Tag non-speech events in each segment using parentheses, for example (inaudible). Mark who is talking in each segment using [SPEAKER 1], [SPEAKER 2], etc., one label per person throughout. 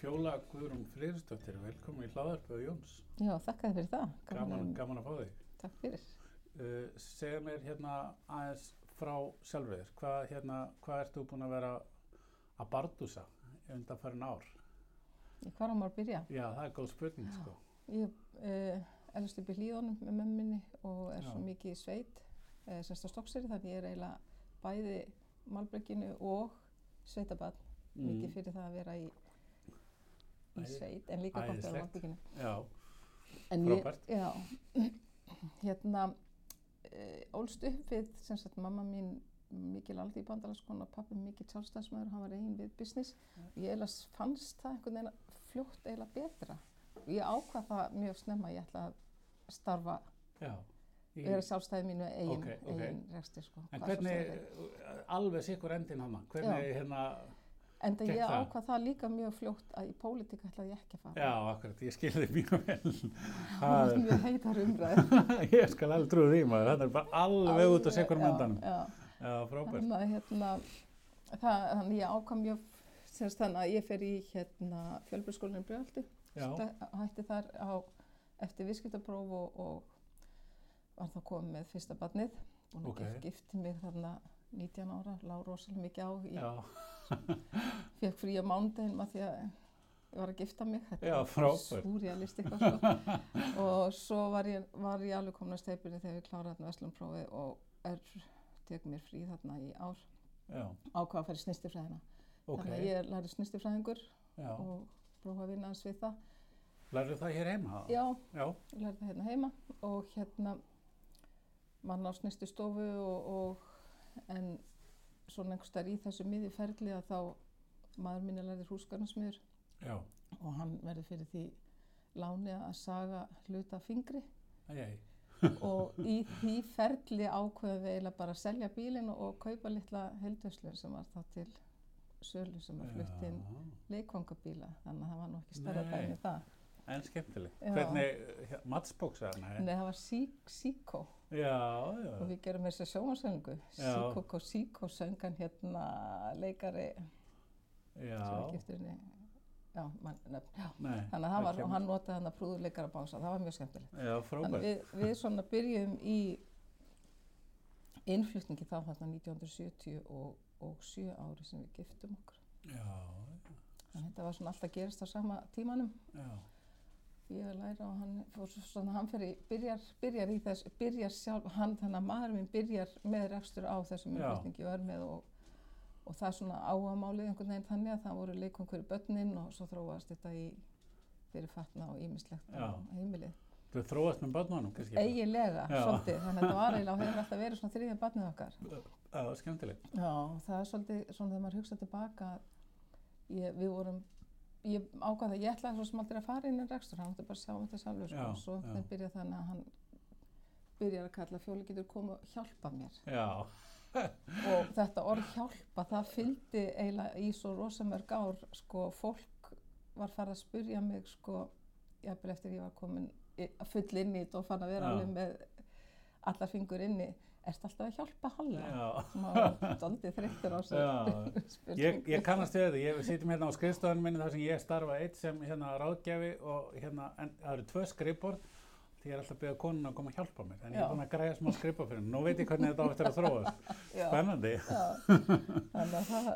[SPEAKER 1] Fjóla Guðrún Friðsdóttir, velkomin í hlaðarpöðu Jóns.
[SPEAKER 2] Já, þakka þið fyrir það.
[SPEAKER 1] Gaman, gaman að fá þig.
[SPEAKER 2] Takk fyrir.
[SPEAKER 1] Uh, segja mér hérna aðeins frá sjálfur þér. Hvað hérna, hva ert þú búin að vera að bardúsa undanfærin ár?
[SPEAKER 2] Ég, hvar á maður að byrja?
[SPEAKER 1] Já, það er góð spurning sko.
[SPEAKER 2] Ég uh, elst upp í hlíðunum með mömminni og er
[SPEAKER 1] Já.
[SPEAKER 2] svo mikið í sveit, uh, semst á Stokkseri, þannig ég er eiginlega bæði malbrekkinu og sveitabann.
[SPEAKER 1] Mm.
[SPEAKER 2] Mikið fyrir það að vera í, í
[SPEAKER 1] Æði-
[SPEAKER 2] sveit, en líka gott að vera á
[SPEAKER 1] æðislegt.
[SPEAKER 2] malbrekkinu.
[SPEAKER 1] Já,
[SPEAKER 2] En
[SPEAKER 1] Frábært.
[SPEAKER 2] Ég, já, (clears throat) hérna, uh, ólst upp við, sem sagt, mamma mín mikil aldi í bandalaskona, pappi mikil sjálfstæðsmaður, hann var eigin við business. Ég eiginlega fannst það einhvern veginn að fljótt eiginlega betra. Ég ákvað það mjög snemma, að ég ætla að starfa,
[SPEAKER 1] já. Í,
[SPEAKER 2] vera sjálfstæði mínu eigin,
[SPEAKER 1] Ok, ok.
[SPEAKER 2] eigin rekstir, sko.
[SPEAKER 1] en
[SPEAKER 2] hvað
[SPEAKER 1] hvernig,
[SPEAKER 2] sjálfstæði er.
[SPEAKER 1] uh, alveg sikkur endin hann, hvernig hérna,
[SPEAKER 2] Enda
[SPEAKER 1] gekk
[SPEAKER 2] ég
[SPEAKER 1] það?
[SPEAKER 2] ákvað það líka mjög fljótt að í pólitík ætlaði ég ekki að fara.
[SPEAKER 1] já, akkurat, ég skilði mjög
[SPEAKER 2] (laughs)
[SPEAKER 1] vel.
[SPEAKER 2] Það
[SPEAKER 1] Það
[SPEAKER 2] var mjög heitar umræður.
[SPEAKER 1] er- (laughs) ég skal alveg trúið því maður, þetta er bara alveg út á sikkur
[SPEAKER 2] Já,
[SPEAKER 1] endanum.
[SPEAKER 2] Já,
[SPEAKER 1] Já, frábært.
[SPEAKER 2] Þannig að hérna, það, þannig ég ákvað mjög, semst þannig að ég fer í hérna fjölbjörnsskólinni í Brjöldi,
[SPEAKER 1] Já,
[SPEAKER 2] hætti þar á, eftir viðskiptapróf og, og var þá komið með fyrsta barnið. Búin
[SPEAKER 1] Ok.
[SPEAKER 2] að okay. gifti mig þarna 19 ára, lág rosalega mikið á, ég
[SPEAKER 1] já,
[SPEAKER 2] fekk frí á mánudaginn maður því að ég var að gifta mig,
[SPEAKER 1] Já,
[SPEAKER 2] þetta
[SPEAKER 1] frábært.
[SPEAKER 2] súrjalist eitthvað sko.
[SPEAKER 1] (laughs)
[SPEAKER 2] og svo var ég, var ég alveg komin að steipinu þegar við kláraði þarna Veslumprófið og er, tek mér frí þarna í ár
[SPEAKER 1] já,
[SPEAKER 2] ákvað að fara í snýstifræðina.
[SPEAKER 1] ok.
[SPEAKER 2] Þannig að ég læri snýstifræðingur
[SPEAKER 1] Já,
[SPEAKER 2] og prófa að vinna hans við það.
[SPEAKER 1] lærðu það hér heima?
[SPEAKER 2] Já,
[SPEAKER 1] Já,
[SPEAKER 2] ég læri það hérna heima og hérna mann á snýstistofu og, og en svona einhvers staðar í þessu miði ferli að þá maður mín er lærið húsgarnarsmiður
[SPEAKER 1] já,
[SPEAKER 2] og hann verður fyrir því láni að saga hluta af fingri
[SPEAKER 1] (laughs) æj,
[SPEAKER 2] og í því ferli ákveðum við eiginlega bara að selja bílinn og kaupa litla heldurslun sem var þá til sölu sem var flutt inn leikvangabíla, þannig að það var nú ekki stærra
[SPEAKER 1] Nei.
[SPEAKER 2] dæmi en það.
[SPEAKER 1] En skemmtileg.
[SPEAKER 2] Já.
[SPEAKER 1] Hvernig, eh, hérna, matsbóksa hann?
[SPEAKER 2] Nei, það var Sík- Síkó
[SPEAKER 1] Já,
[SPEAKER 2] og
[SPEAKER 1] já,
[SPEAKER 2] við gerum þess að sjómasöngu.
[SPEAKER 1] Já.
[SPEAKER 2] Síkó Kó Síkó söngan hérna leikari sem var
[SPEAKER 1] já.
[SPEAKER 2] giftur henni. Já, mann, nefn, já.
[SPEAKER 1] Nei,
[SPEAKER 2] Þannig að það var, og
[SPEAKER 1] kemur-
[SPEAKER 2] hann notaði hann að prúðuleikara bánsa, það var mjög skemmtilegt.
[SPEAKER 1] Já,
[SPEAKER 2] Þannig
[SPEAKER 1] frábært.
[SPEAKER 2] við, við svona byrjum í innflutningi þá þarna 1970 og, og sjö ári sem við giftum okkur.
[SPEAKER 1] Já,
[SPEAKER 2] Þannig að þetta var svona alltaf að gerast á sama tímanum.
[SPEAKER 1] já,
[SPEAKER 2] Ég er að læra og hann fór svo- svona, hann fyrir, byrjar, byrjar í þess, byrjar sjálf, hann, þannig að maður minn byrjar með rekstur á þessum
[SPEAKER 1] Já.
[SPEAKER 2] umflutningi og er með og, og það er svona áamálið einhvern veginn þannig að það voru leikungur í börnin og svo þróast þetta í fyrir fatna og ímislegt á
[SPEAKER 1] Já.
[SPEAKER 2] heimilið.
[SPEAKER 1] þú þróast með barnunum, kannski?
[SPEAKER 2] Eiginlega,
[SPEAKER 1] Já.
[SPEAKER 2] svolítið, þannig að þetta var eiginlega og hefur alltaf verið svona þriðja barnið okkar.
[SPEAKER 1] Já, skemmtileg.
[SPEAKER 2] Já, það er svolítið svona þegar maður hugsa tilbaka að ég, við vorum, ég ákvað að ég ætlaði svo sem aldrei að fara inn í rekstur, hann átti bara að sjá um þetta sjálfur sko,
[SPEAKER 1] Já,
[SPEAKER 2] og svo
[SPEAKER 1] já.
[SPEAKER 2] þannig byrja þannig að hann byrjar að kalla fjóli getur komið og hjálpa mér
[SPEAKER 1] Já,
[SPEAKER 2] og þetta orð hjálpa það fylgdi eiginlega í svo rosamörg ár sko fólk var farið að spurja mig sko jafnvel eftir ég var komin í- full inn í þetta og fann að vera
[SPEAKER 1] Já.
[SPEAKER 2] alveg með alla fingur inni ertu alltaf að hjálpa Halla?
[SPEAKER 1] já.
[SPEAKER 2] maður var doldið
[SPEAKER 1] (laughs)
[SPEAKER 2] þreyttur á
[SPEAKER 1] Já.
[SPEAKER 2] sér
[SPEAKER 1] Ég, ég kannast við þetta, ég sitjum hérna á skrifstofunum minni þar sem ég starfa eitt sem hérna ráðgjafi og hérna, en það eru tvö skrifborð því ég er alltaf að byggja konun að koma að hjálpa mér en ég
[SPEAKER 2] Já.
[SPEAKER 1] er búin að græja smá skrifborð fyrir henni, nú veit ég hvernig þetta á eftir að þróast
[SPEAKER 2] Já.
[SPEAKER 1] Spennandi
[SPEAKER 2] já. þannig að það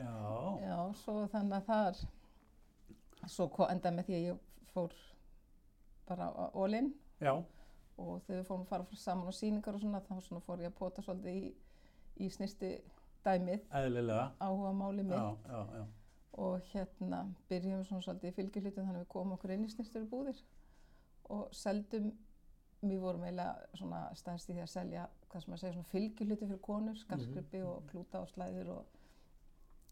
[SPEAKER 1] Já,
[SPEAKER 2] já, svo þannig að það er svo ko- endaði með því að ég fór bara á ólinn
[SPEAKER 1] já,
[SPEAKER 2] og þegar við fórum að fara saman á sýningar og svona þá svona fór ég að pota svolítið í, í snisti dæmið
[SPEAKER 1] eðlilega
[SPEAKER 2] áhuga máli mitt
[SPEAKER 1] Já, já, já,
[SPEAKER 2] og hérna byrjum svona svolítið í fylgjuhlutum þannig að við komum okkur inn í snýstur búðir og seldum, við vorum eiginlega svona stærst í því að selja, hvað sem maður segja, svona fylgjuhluti fyrir konur,
[SPEAKER 1] Mhm.
[SPEAKER 2] skarskripi og klúta og slæðir og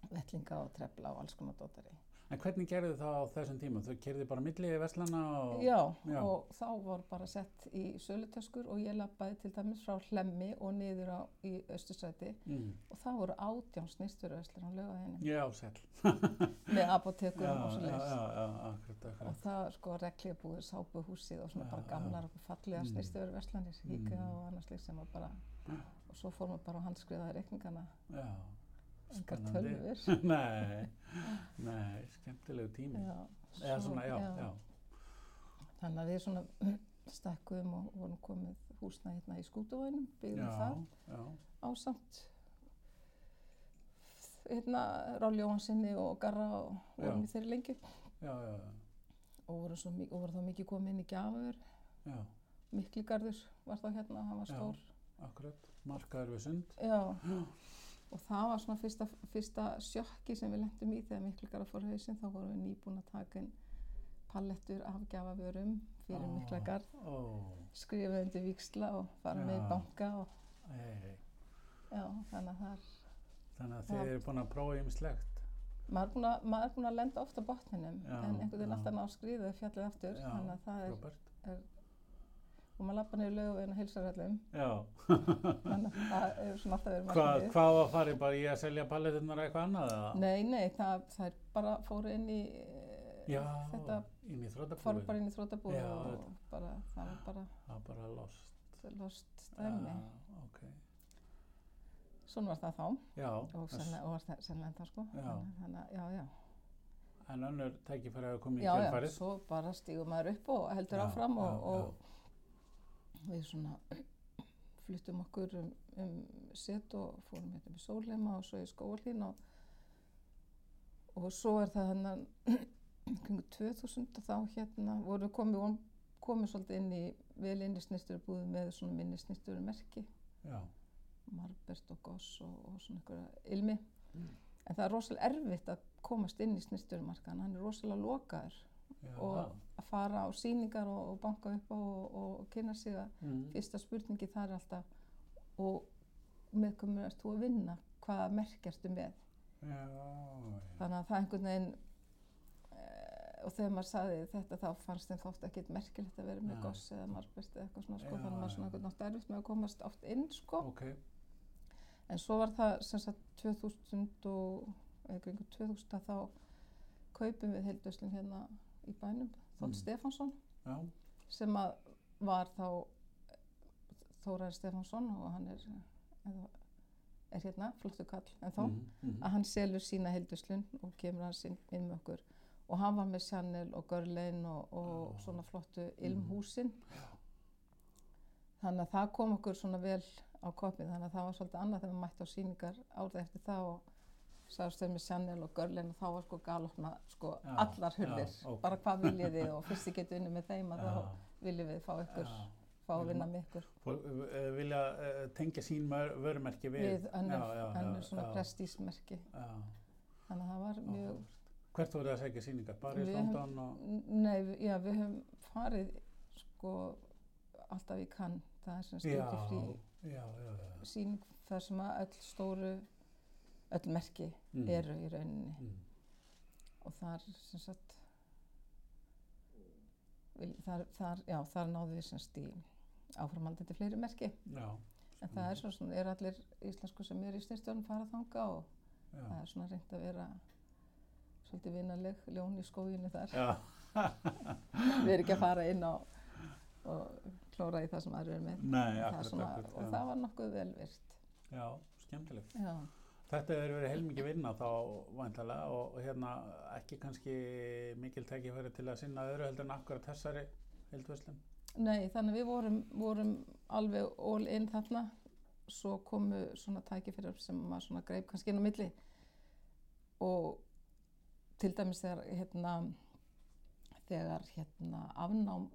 [SPEAKER 2] vellinga og trefla og alls konar dótari.
[SPEAKER 1] En hvernig gerðu það á þessum tíma? Þau kerði bara milli í Vestlana og
[SPEAKER 2] Já,
[SPEAKER 1] já.
[SPEAKER 2] og þá var bara sett í sölutöskur og ég lappaði til dæmis frá Hlemmi og niður á, í Östursæti
[SPEAKER 1] mm.
[SPEAKER 2] og það voru átján snýsturöðslir á lögaðinni
[SPEAKER 1] Já, sæll
[SPEAKER 2] með
[SPEAKER 1] Já,
[SPEAKER 2] apotekum og
[SPEAKER 1] já,
[SPEAKER 2] svo
[SPEAKER 1] já, já, akkurat,
[SPEAKER 2] og
[SPEAKER 1] akkurat
[SPEAKER 2] það sko reglíabúður, sápuhúsið og svona
[SPEAKER 1] Já,
[SPEAKER 2] bara
[SPEAKER 1] já.
[SPEAKER 2] gamlar og fallega
[SPEAKER 1] Mm.
[SPEAKER 2] snýstöður verslanir, híka
[SPEAKER 1] Mm.
[SPEAKER 2] og annað slíkt sem var bara og svo fór maður bara að handskrifaði reikningana
[SPEAKER 1] Já,
[SPEAKER 2] engar
[SPEAKER 1] Spennandi.
[SPEAKER 2] tölvur
[SPEAKER 1] (laughs) nei Nei, skemmtilegu tími.
[SPEAKER 2] Já,
[SPEAKER 1] Eða
[SPEAKER 2] svo-
[SPEAKER 1] svona, já, já.
[SPEAKER 2] Þannig að við svona (clears throat) stakkuðum og vorum komið húsnæði hérna í skútuvænum, byggðum
[SPEAKER 1] Já,
[SPEAKER 2] það
[SPEAKER 1] já,
[SPEAKER 2] ásamt hérna Ráli Jóhansinni og Garra og vorum
[SPEAKER 1] Já.
[SPEAKER 2] í þeirri lengi
[SPEAKER 1] já, já, já,
[SPEAKER 2] og vorum, svo, mi- og vorum þá mikið komið inn í gjafur,
[SPEAKER 1] já,
[SPEAKER 2] Mikligarður var þá hérna, hann var
[SPEAKER 1] Já.
[SPEAKER 2] stór.
[SPEAKER 1] akkurat. Markaður við sund.
[SPEAKER 2] Já. Og það var svona fyrsta, fyrsta sjokki sem við lendum í þegar miklugara fór hausinn. Þá vorum við nýbúin að taka inn pallettur af gjafavörum fyrir
[SPEAKER 1] Ó.
[SPEAKER 2] oh. miklagarð,
[SPEAKER 1] Ó,
[SPEAKER 2] skrifa undir víksla og fara með
[SPEAKER 1] Já.
[SPEAKER 2] í banka og
[SPEAKER 1] ei,
[SPEAKER 2] já, þannig að það er,
[SPEAKER 1] þannig að
[SPEAKER 2] Já.
[SPEAKER 1] þið eru búin að prófa ymslegt.
[SPEAKER 2] maður er búinn að, maður er búin að lenda oft á botninum
[SPEAKER 1] Já,
[SPEAKER 2] en einhvern veginn
[SPEAKER 1] já.
[SPEAKER 2] alltaf ná skriðið fjallið aftur,
[SPEAKER 1] Já,
[SPEAKER 2] þannig að það er,
[SPEAKER 1] Robert.
[SPEAKER 2] og maður lappa niður laugaveginn og heilsarallum,
[SPEAKER 1] Já,
[SPEAKER 2] þannig að það er svona alltaf verið
[SPEAKER 1] hvað,
[SPEAKER 2] markmiðið.
[SPEAKER 1] hvað var farið bara í að selja palletunar eitthvað annað eða?
[SPEAKER 2] Nei, nei, það, það er bara fóru inn í eh,
[SPEAKER 1] Já,
[SPEAKER 2] þetta
[SPEAKER 1] inn í
[SPEAKER 2] fór
[SPEAKER 1] þrótabúið.
[SPEAKER 2] bara inn í þrótabúið
[SPEAKER 1] Já,
[SPEAKER 2] og
[SPEAKER 1] þetta.
[SPEAKER 2] bara, það var bara
[SPEAKER 1] Það var bara lost.
[SPEAKER 2] lost dæmi.
[SPEAKER 1] Já, ok.
[SPEAKER 2] Svona var það þá
[SPEAKER 1] Já,
[SPEAKER 2] og
[SPEAKER 1] en-
[SPEAKER 2] sennilega, og var það sennilega þá sko.
[SPEAKER 1] Já.
[SPEAKER 2] Þannig- Þannig að, já, já.
[SPEAKER 1] en önnur tækifæri hafa komið í
[SPEAKER 2] Já, já,
[SPEAKER 1] kjölfarið.
[SPEAKER 2] svo bara stígum maður upp og heldur
[SPEAKER 1] Já,
[SPEAKER 2] áfram og,
[SPEAKER 1] já,
[SPEAKER 2] og við svona fluttum okkur um, um set og fórum hérna með sólheima og svo í skóvalín og, og svo er það (clears throat) hennan kringu 2000 og þá hérna vorum við komið, von- komið svolítið inn í vel inn í snýsturubúðu með svona minni snýsturumerki
[SPEAKER 1] Já,
[SPEAKER 2] marbert og goss og, og svona einhverja ilmi.
[SPEAKER 1] Mm.
[SPEAKER 2] En það er rosalega erfitt að komast inn í snýsturumarkaðan, hann er rosalega lokaður
[SPEAKER 1] já.
[SPEAKER 2] og að fara á sýningar og, og banka upp á og, og, og kynna sig að
[SPEAKER 1] Mm.
[SPEAKER 2] fyrsta spurningi þar er alltaf og með komur ert þú að vinna hvaða merk ertu með
[SPEAKER 1] Já, já.
[SPEAKER 2] þannig að það einhvern veginn e, og þegar maður saði þetta þá fannst þeim þótt ekkert merkilegt að vera með
[SPEAKER 1] Nei.
[SPEAKER 2] goss eða marbest eða eitthvað svona sko,
[SPEAKER 1] Já,
[SPEAKER 2] þannig að maður
[SPEAKER 1] já.
[SPEAKER 2] svona einhvern nátt erfitt með að komast oft inn sko
[SPEAKER 1] Ok,
[SPEAKER 2] en svo var það sem sagt 2000 og eða kringum 2000 að þá kaupum við heildöslinn hérna í bænum Þótt
[SPEAKER 1] Mm.
[SPEAKER 2] Stefánsson
[SPEAKER 1] já,
[SPEAKER 2] sem að var þá Þórar Stefánsson og hann er, eða, er hérna, flottu kall en þá,
[SPEAKER 1] mhm, mhm.
[SPEAKER 2] að hann selur sína hilduslun og kemur hann sinn inn með okkur og hann var með Chanel og Görlein og, og
[SPEAKER 1] Já. Mhm.
[SPEAKER 2] svona flottu ilmhúsin þannig að það kom okkur svona vel á kopið þannig að það var svolítið annað þegar við mætti á sýningar árið eftir það og sagðist þau með Chanel og Görlein og þá var sko galopna sko
[SPEAKER 1] Já,
[SPEAKER 2] allar hurðir
[SPEAKER 1] já, ok.
[SPEAKER 2] bara hvað viljið þið og fyrst þið getur unni með þeim að þá
[SPEAKER 1] Já,
[SPEAKER 2] viljum við fá ykkur,
[SPEAKER 1] já.
[SPEAKER 2] fá að vinna með ykkur
[SPEAKER 1] Fólk, eh, vilja eh, tengja sín mör- vörumerki við,
[SPEAKER 2] við önnur,
[SPEAKER 1] Já, já, já,
[SPEAKER 2] önnur svona
[SPEAKER 1] já,
[SPEAKER 2] prestísmerki
[SPEAKER 1] já,
[SPEAKER 2] þannig að það var mjög
[SPEAKER 1] áhugavert. hvert voru það að segja síningar? Bara í
[SPEAKER 2] Við höfum-
[SPEAKER 1] London og
[SPEAKER 2] nei, við- já, við höfum farið sko alltaf í kann það er sem
[SPEAKER 1] já,
[SPEAKER 2] stundið frí
[SPEAKER 1] já, já, já.
[SPEAKER 2] síning þar sem að öll stóru öll merki
[SPEAKER 1] Mm.
[SPEAKER 2] eru í rauninni
[SPEAKER 1] Mm.
[SPEAKER 2] og þar sem sagt vil, þar, þar, já, þar náðu við sem stí áframaldandi fleiri merki
[SPEAKER 1] Já,
[SPEAKER 2] en það
[SPEAKER 1] Mm.
[SPEAKER 2] er svo svona, er allir íslensku sem er í styrstjórn fara þanga og
[SPEAKER 1] já.
[SPEAKER 2] það er svona reynd að vera svolítið vinaleg ljón í skóginu þar
[SPEAKER 1] Já,
[SPEAKER 2] við erum ekki að fara inn á og klóra í það sem aðra er með
[SPEAKER 1] nei,
[SPEAKER 2] það er
[SPEAKER 1] akkurat,
[SPEAKER 2] svona,
[SPEAKER 1] akkurat.
[SPEAKER 2] og
[SPEAKER 1] já.
[SPEAKER 2] það var nokkuð velvirt
[SPEAKER 1] Já, skemmtilegt.
[SPEAKER 2] já,
[SPEAKER 1] Þetta hefur verið heilmikið vinna þá vantilega og, og hérna ekki kannski mikil tækifæri til að sinna öðru heldur en akkurat þessari heldvöslum.
[SPEAKER 2] nei, þannig að við vorum, vorum alveg all in þarna svo komu svona tækifyrir upp sem maður svona greip kannski inn á milli og til dæmis þegar hérna þegar hérna afnám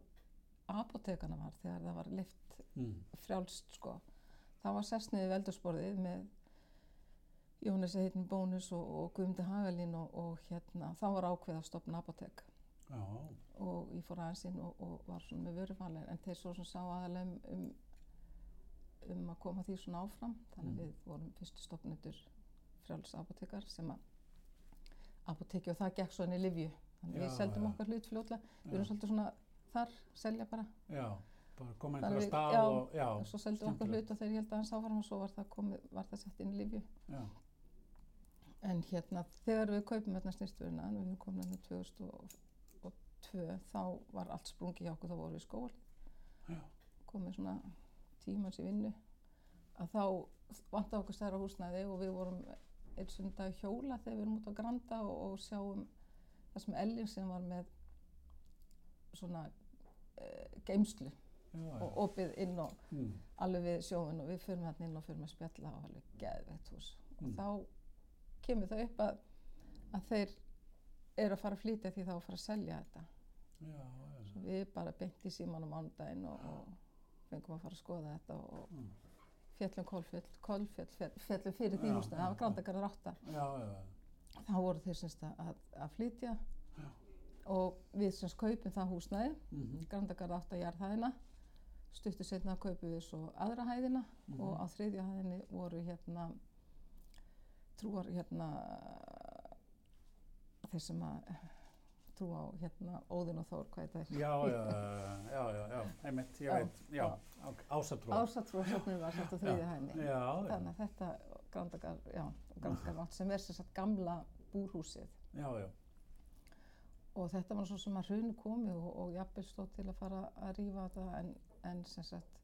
[SPEAKER 2] apotekana var þegar það var leift
[SPEAKER 1] Mm.
[SPEAKER 2] frjálst sko. Það var sest niður veldursporðið með Jónasi heitin Bónus og, og Guðmundi Hagalín og, og hérna, þá var ákveð að stopna apotek
[SPEAKER 1] Já,
[SPEAKER 2] og ég fór aðeins inn og, og var svona með vöruvalin en þeir svo sem sá aðalega um, um, um að koma því svona áfram þannig
[SPEAKER 1] Mm.
[SPEAKER 2] að við vorum fyrstu stopnendur frjáls apotekar sem að apoteki og það gekk svo inn í Livju þannig að
[SPEAKER 1] Já,
[SPEAKER 2] við seldum
[SPEAKER 1] já.
[SPEAKER 2] okkar hlut fljótlega við
[SPEAKER 1] já,
[SPEAKER 2] erum svolítið svona þar selja bara
[SPEAKER 1] já, bara koma einhverja
[SPEAKER 2] Þannig við-
[SPEAKER 1] stað
[SPEAKER 2] já,
[SPEAKER 1] og já,
[SPEAKER 2] og svo seldum við okkur
[SPEAKER 1] skemmtilegt.
[SPEAKER 2] hlut og þeir held aðeins áfram og svo var það, komið, var það sett inn í Livju.
[SPEAKER 1] já,
[SPEAKER 2] En hérna, þegar við kaupum hérna snýstvöruna, en við höfum komin hérna 2002, þá var allt sprungið hjá okkur, þá vorum við í skóli.
[SPEAKER 1] Já.
[SPEAKER 2] Komið svona tímans í vinnu, að þá vantaði okkur stærra húsnæði og við vorum einn sundag hjóla þegar við erum út á Granda og, og sjáum það sem Ellin sem var með svona uh, geimslu
[SPEAKER 1] já, já.
[SPEAKER 2] og opið inn og
[SPEAKER 1] Mm.
[SPEAKER 2] alveg við sjóin og við förum hérna inn og förum að spjalla og alveg geðveitt hús
[SPEAKER 1] Mm.
[SPEAKER 2] og þá kemur það upp að, að þeir eru að fara að flytja því þá að fara að selja þetta
[SPEAKER 1] já, já.
[SPEAKER 2] Svo við bara beint í síman á mánudaginn og, og fengum að fara að skoða þetta og
[SPEAKER 1] Mm.
[SPEAKER 2] fjallum kólfjöll, kólfjöll fjall, fjallum fyrir því
[SPEAKER 1] Já,
[SPEAKER 2] húsnaði, það var
[SPEAKER 1] já,
[SPEAKER 2] grándakarður átta
[SPEAKER 1] já, já, já.
[SPEAKER 2] þá voru þeir semst að, að, að flytja
[SPEAKER 1] Já.
[SPEAKER 2] og við semst kaupum það húsnaði
[SPEAKER 1] Mhm.
[SPEAKER 2] grándakarður átta jarðhæðina stuttu setna kaupum við svo aðra hæðina og
[SPEAKER 1] Mhm.
[SPEAKER 2] á þriðja hæðinni voru hérna trúar hérna þeir sem að trúa á hérna Óðinn og Þór, hvað er það?
[SPEAKER 1] já, já, já, já, já, já, einmitt, ég
[SPEAKER 2] Já,
[SPEAKER 1] veit, já,
[SPEAKER 2] já.
[SPEAKER 1] ásatrú.
[SPEAKER 2] Ásatrúasöfnum var sett á þriðja hæðinni
[SPEAKER 1] Já, já,
[SPEAKER 2] þannig að þetta grandakar, já, grandakar átt sem er sem sagt gamla búrhúsið
[SPEAKER 1] já, já,
[SPEAKER 2] og þetta var nú svo sem að hrun komi og, og jafnvel stóð til að fara að rífa þetta en, en sem sagt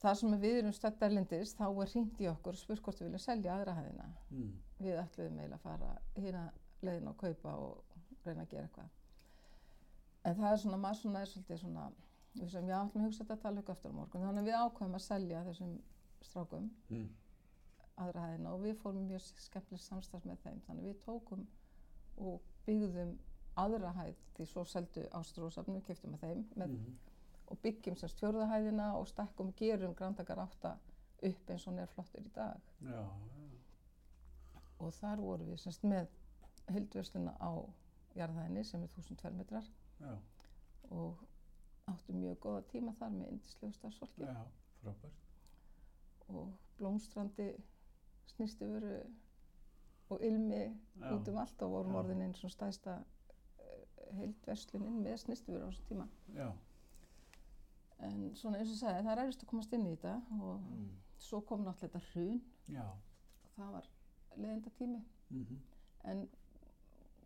[SPEAKER 2] þar sem við erum stödd erlendis þá er hringt í okkur og spurt hvort við viljum selja aðra hæðina
[SPEAKER 1] mm.
[SPEAKER 2] við ætluðum eiginlega að fara hérna leiðin og kaupa og reyna að gera eitthvað en það er svona, maður svona er svolítið svona við sem já, ætlum að hugsa þetta tala ykkur aftur á morgun þannig að við ákveðum að selja þessum strákum
[SPEAKER 1] Mm.
[SPEAKER 2] aðra hæðina og við fórum í mjög skemmtileg samstarf með þeim þannig við tókum og byggðum aðra hæð því svo seldu ástrúðsafnum, keftum að þeim með,
[SPEAKER 1] Mhm.
[SPEAKER 2] og byggjum semst fjórða hæðina og stakkum gerum grandakar átta upp eins og hún er flottur í dag
[SPEAKER 1] já, já,
[SPEAKER 2] og þar vorum við semst með heldversluna á jarðhæðinni sem er 1002 metrar
[SPEAKER 1] já,
[SPEAKER 2] og áttum mjög góða tíma þar með indislegu starfsfólki
[SPEAKER 1] já, frábært.
[SPEAKER 2] og blómstrandi snýsti veru og ilmi
[SPEAKER 1] Já.
[SPEAKER 2] út um allt og vorum
[SPEAKER 1] Já.
[SPEAKER 2] orðin eins og stæsta heildverslunin með snýsti veru á þessum tíma
[SPEAKER 1] Já,
[SPEAKER 2] en svona eins og ég sagði það er erfist að komast inn í þetta og
[SPEAKER 1] mm.
[SPEAKER 2] svo kom náttúrulega þetta hrun
[SPEAKER 1] já,
[SPEAKER 2] og það var leiðinda tími
[SPEAKER 1] mhm,
[SPEAKER 2] en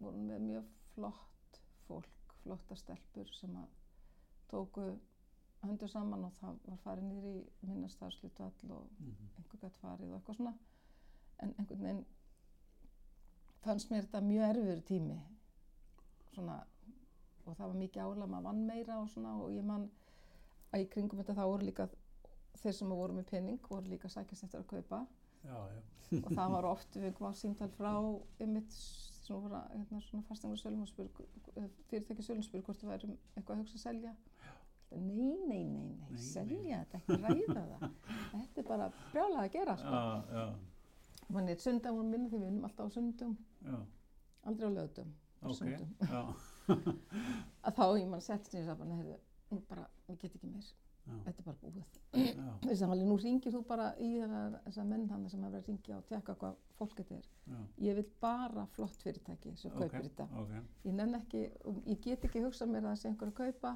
[SPEAKER 2] vorum með mjög flott fólk, flotta stelpur sem að tóku höndu saman og það var farið niður í minna starfslutvall og
[SPEAKER 1] mhm,
[SPEAKER 2] einhver gætt farið og eitthvað svona en einhvern veginn fannst mér þetta mjög erfiður tími svona og það var mikið ála, maður vann meira og svona og ég man að í kringum þetta þá voru líka þeir sem voru með pening voru líka að sækjast eftir að kaupa
[SPEAKER 1] já, já,
[SPEAKER 2] og það var oft við fengum á símtal frá einmitt sem voru að, hérna, svona fastangur sölum og spyr, fyrirtæki sölum spyr hvort við værum eitthvað að hugsa að selja Þetta, nei, nei, nei, nei,
[SPEAKER 1] Nei,
[SPEAKER 2] selja þetta, ekki ræða það þetta er bara brjálað að gera sko.
[SPEAKER 1] já, já,
[SPEAKER 2] manni, sundar voru minna þegar við vinnum alltaf á sundum
[SPEAKER 1] já,
[SPEAKER 2] aldrei á lögutum, á
[SPEAKER 1] ok,
[SPEAKER 2] sundum
[SPEAKER 1] já,
[SPEAKER 2] að þá ég mann sett sér saman heyrðu, nú bara, ég get ekki meir
[SPEAKER 1] já,
[SPEAKER 2] þetta er bara búið
[SPEAKER 1] já,
[SPEAKER 2] þess að alveg nú ringir þú bara í þennan- þessa menn hann sem hefur að ringja og tekka hvað fólk þetta er
[SPEAKER 1] já,
[SPEAKER 2] ég vil bara flott fyrirtæki sem
[SPEAKER 1] ok,
[SPEAKER 2] kaupir þetta
[SPEAKER 1] ok,
[SPEAKER 2] ég nenn ekki, og ég get ekki hugsað mér að það sé einhver að kaupa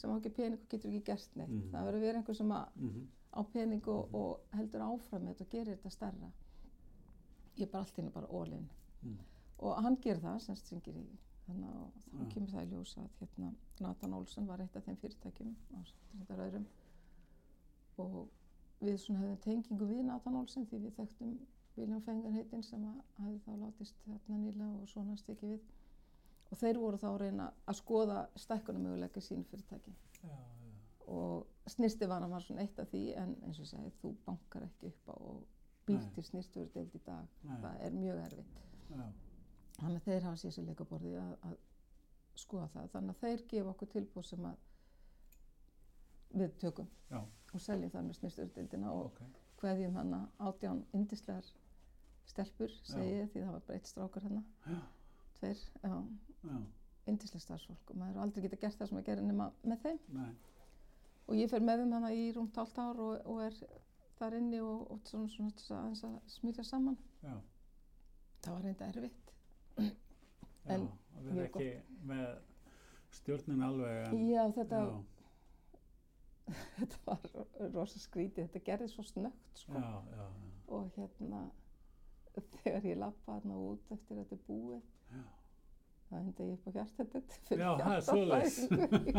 [SPEAKER 2] sem á ekki pening og getur ekki gert neitt.
[SPEAKER 1] Mhm.
[SPEAKER 2] Það verður að vera einhver sem að-
[SPEAKER 1] mhm,
[SPEAKER 2] á pening og, og heldur áfram með þetta og gerir þetta stærra. Ég er bara allt í henni bara ólinn.
[SPEAKER 1] Mm.
[SPEAKER 2] Og hann gerir það, sem stringir í þannig og þá
[SPEAKER 1] Já.
[SPEAKER 2] kemur það í ljós að hérna, Nathan Olsson var eitt af þeim fyrirtækjum á reyndar öðrum og við svona hefðum tengingu við Nathan Olsson því við þekktum William Fengar heitinn sem að hafði þá látist þarna nýlega og svona stikið við og þeir voru þá að reyna að skoða stækkunum möguleika í sínu fyrirtæki
[SPEAKER 1] já, já,
[SPEAKER 2] og snýrstivana var svona eitt af því en eins og ég segi þú bankar ekki upp á og býr
[SPEAKER 1] Nei.
[SPEAKER 2] til snýrstveru deild í dag
[SPEAKER 1] nei,
[SPEAKER 2] það er mjög erfitt
[SPEAKER 1] já,
[SPEAKER 2] þannig að þeir hafa sér sér leikaborði að, að skoða það þannig að þeir gefa okkur tilbúð sem að við tökum
[SPEAKER 1] Já.
[SPEAKER 2] og seljum þar með snýrstöðurdildina og
[SPEAKER 1] ok,
[SPEAKER 2] hverjum hann átján yndislegar stelpur segi
[SPEAKER 1] Já.
[SPEAKER 2] ég því það var bara eitt strákur hann
[SPEAKER 1] Já.
[SPEAKER 2] tveir, já,
[SPEAKER 1] já,
[SPEAKER 2] yndislega starfsfólk og maður hefur aldrei geta gert það sem maður gerir nema með þeim
[SPEAKER 1] nei,
[SPEAKER 2] og ég fer með þeim hann í rúmt hálft ár og, og er þar inni og, og svona, svona, svona aðeins að smýra saman
[SPEAKER 1] já,
[SPEAKER 2] það var reynda erfitt
[SPEAKER 1] já,
[SPEAKER 2] En
[SPEAKER 1] að vera
[SPEAKER 2] mjög
[SPEAKER 1] ekki með stjórnin alveg, en,
[SPEAKER 2] já þetta,
[SPEAKER 1] já,
[SPEAKER 2] (laughs) þetta var rosa skrítið, þetta gerði svo snögt sko.
[SPEAKER 1] já, já, já,
[SPEAKER 2] og hérna þegar ég lappa þarna út eftir að þetta er búið
[SPEAKER 1] Já.
[SPEAKER 2] Það hendi ég upp á hjartaðið
[SPEAKER 1] Já, það er svoleiðis.
[SPEAKER 2] (laughs)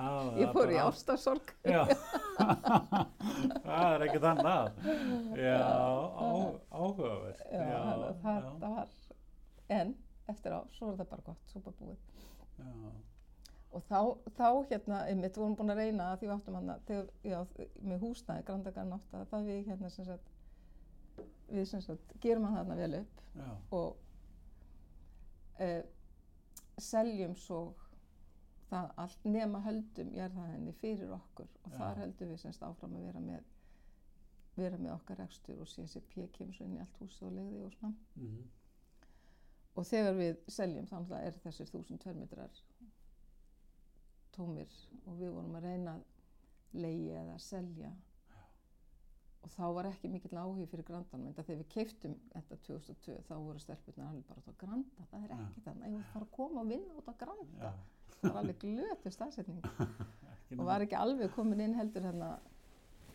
[SPEAKER 1] Já,
[SPEAKER 2] Ég fór í ástarsorg.
[SPEAKER 1] Já, (laughs) það er ekkert annað. Já, á, áhugaverð.
[SPEAKER 2] Já, þannig að það,
[SPEAKER 1] já,
[SPEAKER 2] það var, en eftir á, svo var það bara gott, svo bara búið.
[SPEAKER 1] já.
[SPEAKER 2] Og þá, þá hérna, einmitt, vorum búin að reyna að því við áttum hann að, þegar, já, með húsnæði, grandakar nátt að það við hérna sem sagt, við sem sagt, gerum hann þarna vel upp
[SPEAKER 1] já.
[SPEAKER 2] og uh, seljum svo það allt nema höldum jarðhæðinni fyrir okkur og
[SPEAKER 1] Já.
[SPEAKER 2] þar höldum við semst áfram að vera með vera með okkar rekstur og CSP kemur svo inn í allt húsið og legði og svona
[SPEAKER 1] mhm,
[SPEAKER 2] og þegar við seljum þá náttúrulega er þessir 1002 metrar tómir og við vorum að reyna að leiði eða selja og þá var ekki mikill áhugi fyrir grandanum en þegar við keiftum þetta 2002 þá voru stelpunar alveg bara út á granda það er
[SPEAKER 1] Já.
[SPEAKER 2] ekki þannig, ég voru bara að koma og vinna út á granda
[SPEAKER 1] já.
[SPEAKER 2] það var alveg glötu staðsetning
[SPEAKER 1] Ekki
[SPEAKER 2] og var ekki alveg komin inn heldur hérna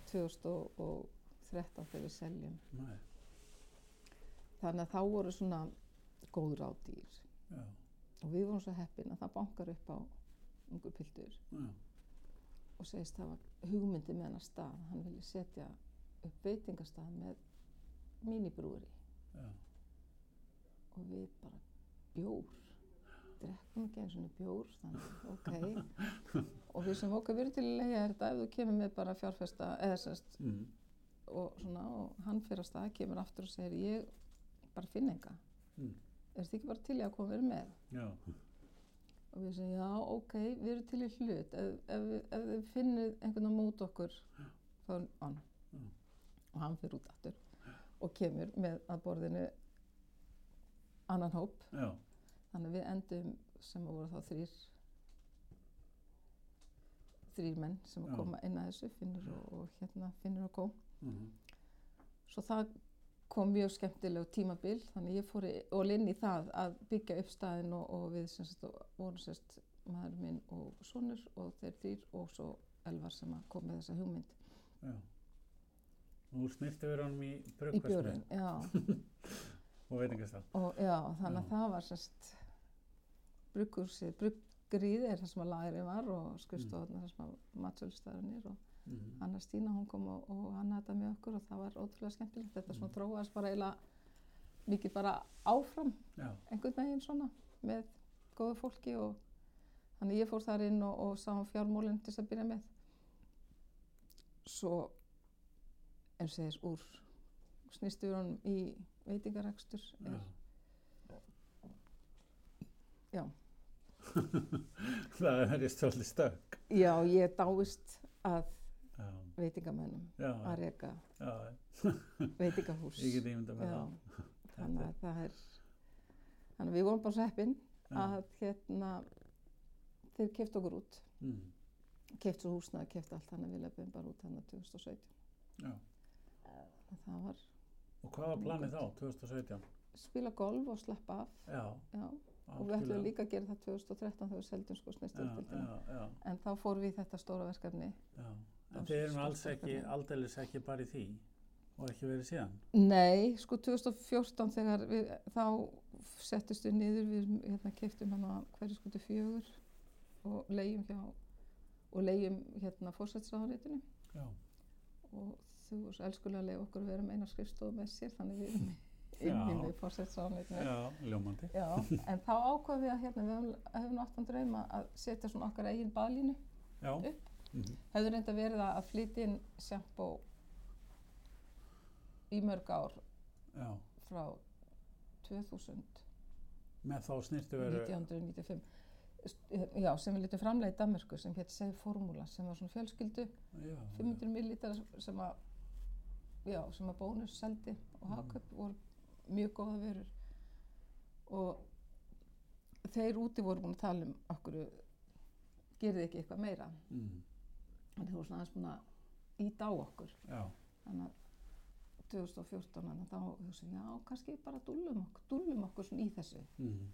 [SPEAKER 2] 2013 þegar við seljum
[SPEAKER 1] nema- Nei,
[SPEAKER 2] þannig að þá voru svona góð ráðdýr
[SPEAKER 1] já,
[SPEAKER 2] og við vorum svo heppin að það bankar upp á ungu pildur
[SPEAKER 1] já,
[SPEAKER 2] og segist það var hugmyndi með hann að stað hann vilja setja upp veitingastað með mínibrúri
[SPEAKER 1] já.
[SPEAKER 2] og við bara bjór drekkum ekki eins og bjór þannig ok og við sem okkar verið til að leiða þetta ef þú kemur með bara fjárfesta eða sérst
[SPEAKER 1] mhm,
[SPEAKER 2] og svona og hann fyrir að stað kemur aftur og segir ég bara finn enga
[SPEAKER 1] Mm.
[SPEAKER 2] er þetta ekki bara til í að koma verið með
[SPEAKER 1] já,
[SPEAKER 2] og við segjum, já, ok, við erum til í hlut ef, ef, við- ef þið finnir einhvern á mót okkur þá er hann
[SPEAKER 1] Mm.
[SPEAKER 2] og hann fyrir út aftur og kemur með að borðinu annan hóp
[SPEAKER 1] já,
[SPEAKER 2] þannig að við endum sem að voru þá þrýr þrýr menn sem
[SPEAKER 1] Já.
[SPEAKER 2] að koma inn að þessu finnir og, og hérna finnir og kom
[SPEAKER 1] mhm,
[SPEAKER 2] svo það kom mjög skemmtilegu tímabil þannig ég fór í- all inn í það að byggja upp staðinn og, og við sem sagt og- vorum sem sagt maður minn og sonur og þeir dýr og svo Elvar sem að kom með þessa hugmynd
[SPEAKER 1] já. Nú snýrti við honum í
[SPEAKER 2] í
[SPEAKER 1] brugkvæslu
[SPEAKER 2] björn já,
[SPEAKER 1] og veitingastall.
[SPEAKER 2] og, já, þannig
[SPEAKER 1] Já.
[SPEAKER 2] að það var sem sagt brugghúsið, bruggrið er það sem að lagri var og skrifstofna mm. það sem að matsölustæðurinn er og
[SPEAKER 1] Mhm,
[SPEAKER 2] Anna Stína hún kom og, og hann þetta með okkur og það var ótrúlega skemmtilegt þetta svona þróaðist bara eiginlega mikið bara áfram
[SPEAKER 1] Já,
[SPEAKER 2] einhvern veginn svona með góðu fólki og þannig ég fór þar inn og, og sá um fjármólinn til þess að byrja með svo ef segir úr snýstu við honum í veitingarækstur
[SPEAKER 1] já.
[SPEAKER 2] er, Já.
[SPEAKER 1] (laughs) það er svolítið stökk.
[SPEAKER 2] já ég dáist að
[SPEAKER 1] Já,
[SPEAKER 2] veitingamönnum
[SPEAKER 1] já,
[SPEAKER 2] að reka
[SPEAKER 1] já,
[SPEAKER 2] veitingahús
[SPEAKER 1] ég get ímyndað með
[SPEAKER 2] já,
[SPEAKER 1] það.
[SPEAKER 2] þannig að það er þannig að við vorum bara svo heppin
[SPEAKER 1] Já,
[SPEAKER 2] að hérna þeir keftu okkur út
[SPEAKER 1] mhm,
[SPEAKER 2] keftu húsnaði, keftu allt þannig að við lefum bara út hann 2017
[SPEAKER 1] já.
[SPEAKER 2] En það var
[SPEAKER 1] Og hvað var planið þá, 2017?
[SPEAKER 2] spila golf og slappa af
[SPEAKER 1] Já,
[SPEAKER 2] já. og við ætlum líka að gera það 2013 þegar við seldum sko snestuðildina
[SPEAKER 1] Já, já, já.
[SPEAKER 2] en þá fór við í þetta stóra verkefni
[SPEAKER 1] Já, en
[SPEAKER 2] Dans-
[SPEAKER 1] þið erum alls
[SPEAKER 2] dansverkefni.
[SPEAKER 1] ekki, aldeilis ekki bara í því og ekki verið síðan.
[SPEAKER 2] nei, sko 2014 þegar við, þá settist við niður við hérna, keftum hann að hverju skutu fjögur og leigjum hjá og leigjum hérna fórsætsráðanrétinu
[SPEAKER 1] Já,
[SPEAKER 2] og þú er svo elskulega leið okkur að vera með eina skrifstofu með sér þannig við erum inn í
[SPEAKER 1] Já.
[SPEAKER 2] því fórsætsráðanrétinu
[SPEAKER 1] já, ljómandi.
[SPEAKER 2] Já, en þá ákvaðum við að hérna, við höfum- höfum áttan drauma að setja svona okkar eigin baðlínu.
[SPEAKER 1] Já,
[SPEAKER 2] Upp.
[SPEAKER 1] Mhm.
[SPEAKER 2] Hefur reynda verið að að flytja inn sjampó í mörg ár
[SPEAKER 1] já,
[SPEAKER 2] frá 2000,
[SPEAKER 1] með þá snýrtu veru,
[SPEAKER 2] 1995. St- Já, sem við lítum framlega í Danmörku sem hétt Save Formula sem var svona fjölskyldu,
[SPEAKER 1] já,
[SPEAKER 2] 500 millilitrar sem að, já, sem að bónus seldi og hagkaup voru mjög góða vörur og þeir úti voru búin að tala um okkur gerði ekki eitthvað meira
[SPEAKER 1] mm,
[SPEAKER 2] en þeir voru svona aðeins búin að íta á okkur
[SPEAKER 1] já,
[SPEAKER 2] þannig að 2014 þannig að þá hugsaði ég, já kannski bara dúllum okkur, dúllum okkur svona í þessu
[SPEAKER 1] mm,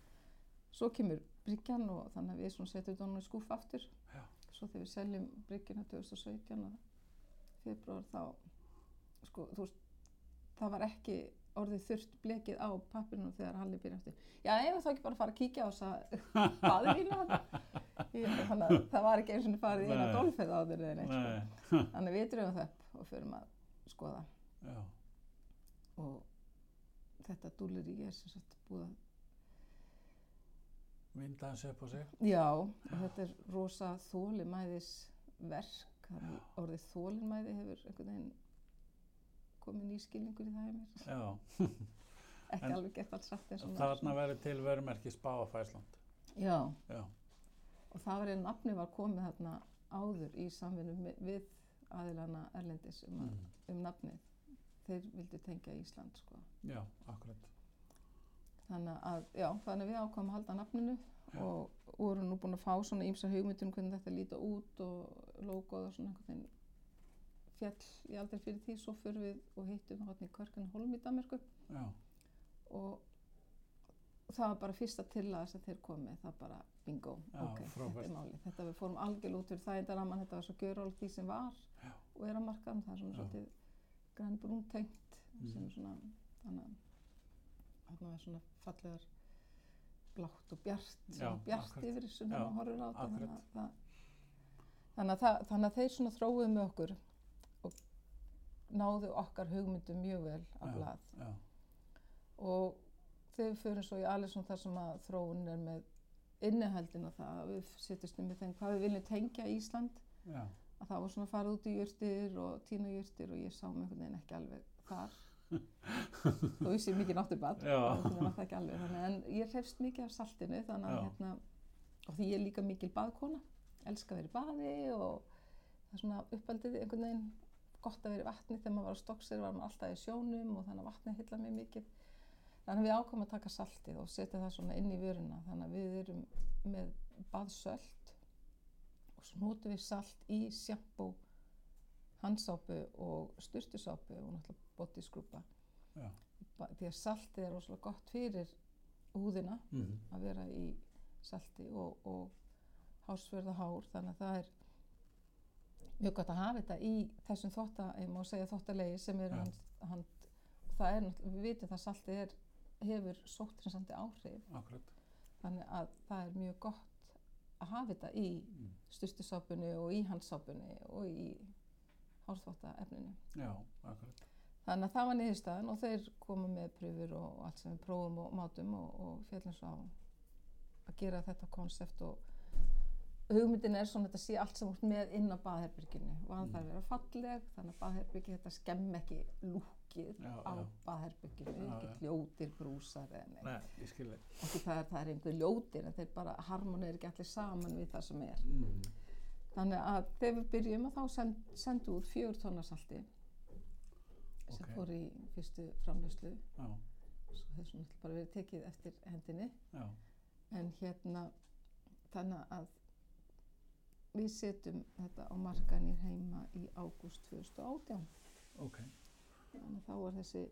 [SPEAKER 2] svo kemur bryggjan og þannig að við svona setjum þetta honum í skúf aftur
[SPEAKER 1] Já.
[SPEAKER 2] svo þegar við seljum bryggjuna 2017 og februar þá sko, þú veist, það var ekki orðið þurft blekið á pappirinu þegar Halli býr eftir. Já, ég var þá ekki bara að fara að kíkja á
[SPEAKER 1] (laughs)
[SPEAKER 2] þessa baðvínu þarna. Ég- Þannig að það var ekki eins og farið í eina
[SPEAKER 1] Nei.
[SPEAKER 2] golfið á þeirri eða neitt. sko.
[SPEAKER 1] Nei.
[SPEAKER 2] Þannig að við drögum það upp og förum að skoða
[SPEAKER 1] Já.
[SPEAKER 2] og þetta dúlur ég er sem sagt búið að
[SPEAKER 1] Vinda hans upp á sig.
[SPEAKER 2] Já, og þetta er rosa þólimæðisverk, þannig orðið þólimæði hefur einhvern veginn komið nýskilningur í það hjá mér. (laughs)
[SPEAKER 1] Já.
[SPEAKER 2] Ekki
[SPEAKER 1] En-
[SPEAKER 2] alveg gett alls satt eins og maður
[SPEAKER 1] Þarna verður til vörumerki spá á Fæsland.
[SPEAKER 2] svona- Já,
[SPEAKER 1] Já.
[SPEAKER 2] og það var einn nafni var komið þarna áður í samvinnu mi- við aðilana Erlendis um, að,
[SPEAKER 1] Mm.
[SPEAKER 2] um nafnið. Þeir vildu tengja Ísland, sko.
[SPEAKER 1] Já, akkurat.
[SPEAKER 2] Þannig að, já, þannig að við ákvæmum að halda nafninu og vorum nú búin að fá svona ýmsar hugmyndir um hvernig þetta líta út og logoð og svona einhvern veginn fjall í aldrei fyrir því, svo fyrir við og hittum hann í Körkun Holm í Danmarku
[SPEAKER 1] Já.
[SPEAKER 2] og það var bara fyrsta tillaga sem þeir komið, það bara bingo,
[SPEAKER 1] Já,
[SPEAKER 2] ok, þetta
[SPEAKER 1] frábært.
[SPEAKER 2] er málið. Þetta við fórum algjörlega út fyrir það þetta ramman, þetta var svo gjörólt því sem var
[SPEAKER 1] Já.
[SPEAKER 2] og er að marka það er svona
[SPEAKER 1] Já.
[SPEAKER 2] svolítið grænbrún tengt sem
[SPEAKER 1] Mm.
[SPEAKER 2] er svona, þannig að þarna var svona fallegar blátt og bjart, svona
[SPEAKER 1] Já,
[SPEAKER 2] bjart
[SPEAKER 1] akkurat.
[SPEAKER 2] yfir þessu þannig
[SPEAKER 1] Já,
[SPEAKER 2] að horfur á þetta þannig
[SPEAKER 1] akkurat.
[SPEAKER 2] að, það, þannig, að það, þannig að þeir svona þróuðu með okkur og náðu okkar hugmyndum mjög vel
[SPEAKER 1] Já.
[SPEAKER 2] af blað
[SPEAKER 1] Já.
[SPEAKER 2] og þegar við förum svo í Alisson þar sem að þróun er með innihaldin og það að við setjumst um með þeim hvað við viljum tengja Ísland
[SPEAKER 1] Já.
[SPEAKER 2] að það var svona að fara út í jörtir og tína jörtir og ég sá mig einhvern veginn ekki alveg þar þó ég sé mikið náttúrbad
[SPEAKER 1] Já.
[SPEAKER 2] þannig að en ég hrefst mikið af saltinu þannig að
[SPEAKER 1] Já.
[SPEAKER 2] hérna og því ég er líka mikil baðkona elska að vera í baði og það er svona uppaldið einhvern veginn gott að vera í vatni þegar maður var á stokksir var maður alltaf í sjónum og þannig að vatni hilla mig mikið þannig að við ákvæmum að taka saltið og setja það svona inn í vöruna þannig að við erum með baðsölt og svo notum við salt í sjampó handsápu og styrtusápu og náttúrulega bodyskrúpa
[SPEAKER 1] Já.
[SPEAKER 2] því að saltið er rosalega gott fyrir húðina
[SPEAKER 1] Mm.
[SPEAKER 2] að vera í salti og, og hásfjörða hár þannig að það er mjög gott að hafa þetta í þessum þótta, ég má segja þóttalegi sem er
[SPEAKER 1] Já.
[SPEAKER 2] hans, hann, það er, náttúrulega- við vitum það saltið er, hefur sóttrinsandi áhrif
[SPEAKER 1] Akkurat.
[SPEAKER 2] þannig að það er mjög gott að hafa þetta í
[SPEAKER 1] Mm.
[SPEAKER 2] stustusápunni og í handsápunni og í hárþvottaefninu
[SPEAKER 1] Já, akkurat.
[SPEAKER 2] þannig að það var niðurstaðan og þeir komu með pröfur og og allt sem við prófum og mátum og, og fjallum svo á að gera þetta konsept og hugmyndin er svona að þetta sé allt sem út með inn á baðherberginu og að það vera falleg þannig að baðherbergi þetta skemm ekki lúkið
[SPEAKER 1] Já,
[SPEAKER 2] á
[SPEAKER 1] já.
[SPEAKER 2] baðherberginu
[SPEAKER 1] Já,
[SPEAKER 2] ekki
[SPEAKER 1] já.
[SPEAKER 2] ljótir brúsar eða neitt
[SPEAKER 1] Nei, ég skil þig.
[SPEAKER 2] ekki það er, það er einhver ljótir en þeir bara harmonið ekki allir saman við það sem er
[SPEAKER 1] Mm.
[SPEAKER 2] Þannig að þegar við byrjum að þá send, sendu út fjögur tónarsalti sem
[SPEAKER 1] Ok.
[SPEAKER 2] fór í fyrstu framlöslu
[SPEAKER 1] Já.
[SPEAKER 2] svo hefði svona náttúrulega bara verið tekið eftir hendinni
[SPEAKER 1] Já.
[SPEAKER 2] en hérna þannig að við setjum þetta á markanir heima í ágúst 2018
[SPEAKER 1] Ok.
[SPEAKER 2] þannig að þá var þessi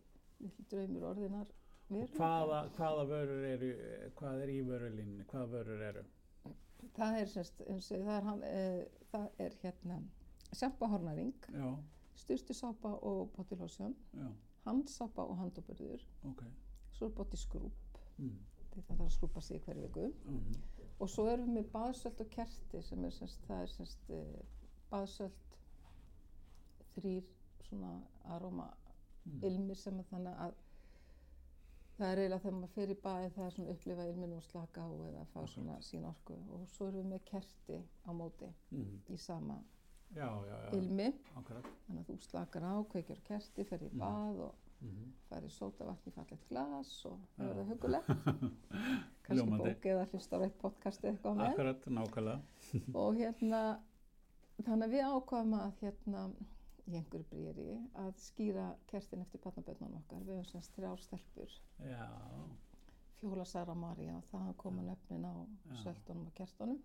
[SPEAKER 2] litli draumur orðinar veruleika.
[SPEAKER 1] Hvaða, hvaða vörur eru, hvað er í vörulínni, hvaða vörur eru?
[SPEAKER 2] það er semst eins og það er, hann, e, það er hérna sjampahornaring,
[SPEAKER 1] Já,
[SPEAKER 2] styrstisápa og botilósjón
[SPEAKER 1] já,
[SPEAKER 2] handsápa og handoburður
[SPEAKER 1] ok.
[SPEAKER 2] svo er bótt í skrúp
[SPEAKER 1] Mm.
[SPEAKER 2] því það þarf að skrúpa sig í hverju viku
[SPEAKER 1] Mm.
[SPEAKER 2] og svo erum við með baðsöld og kerti sem er semst, það er semst eh, baðsöld þrýr svona aróma
[SPEAKER 1] Mm.
[SPEAKER 2] ilmir sem að þannig að það er eiginlega þegar maður fer í baði það er svona upplifa ilminu og slaka á eða fá
[SPEAKER 1] Akkúrat.
[SPEAKER 2] svona sín orku og svo erum við með kerti á móti
[SPEAKER 1] Mm.
[SPEAKER 2] í sama
[SPEAKER 1] Já, já, já,
[SPEAKER 2] ilmi
[SPEAKER 1] akkurat.
[SPEAKER 2] þannig að þú slakar á, kveikjur á kerti, fer í
[SPEAKER 1] Mm.
[SPEAKER 2] bað og
[SPEAKER 1] Mm.
[SPEAKER 2] farið sótavatn í fallegt glas og
[SPEAKER 1] Já.
[SPEAKER 2] það verða hugulegt
[SPEAKER 1] (laughs)
[SPEAKER 2] kannski
[SPEAKER 1] Ljómandi.
[SPEAKER 2] bók eða hlusta á eitt podcast eða eitthvað á með
[SPEAKER 1] Akkurat, nákvæmlega.
[SPEAKER 2] og hérna þannig að við ákvaðum að hérna í einhverju brýri að skýra kertin eftir barnaböndunum okkar við höfum semst þrjár stelpur
[SPEAKER 1] Já,
[SPEAKER 2] Fjóla Sara Maria og það koma nöfnin á
[SPEAKER 1] Já.
[SPEAKER 2] söldunum og kertunum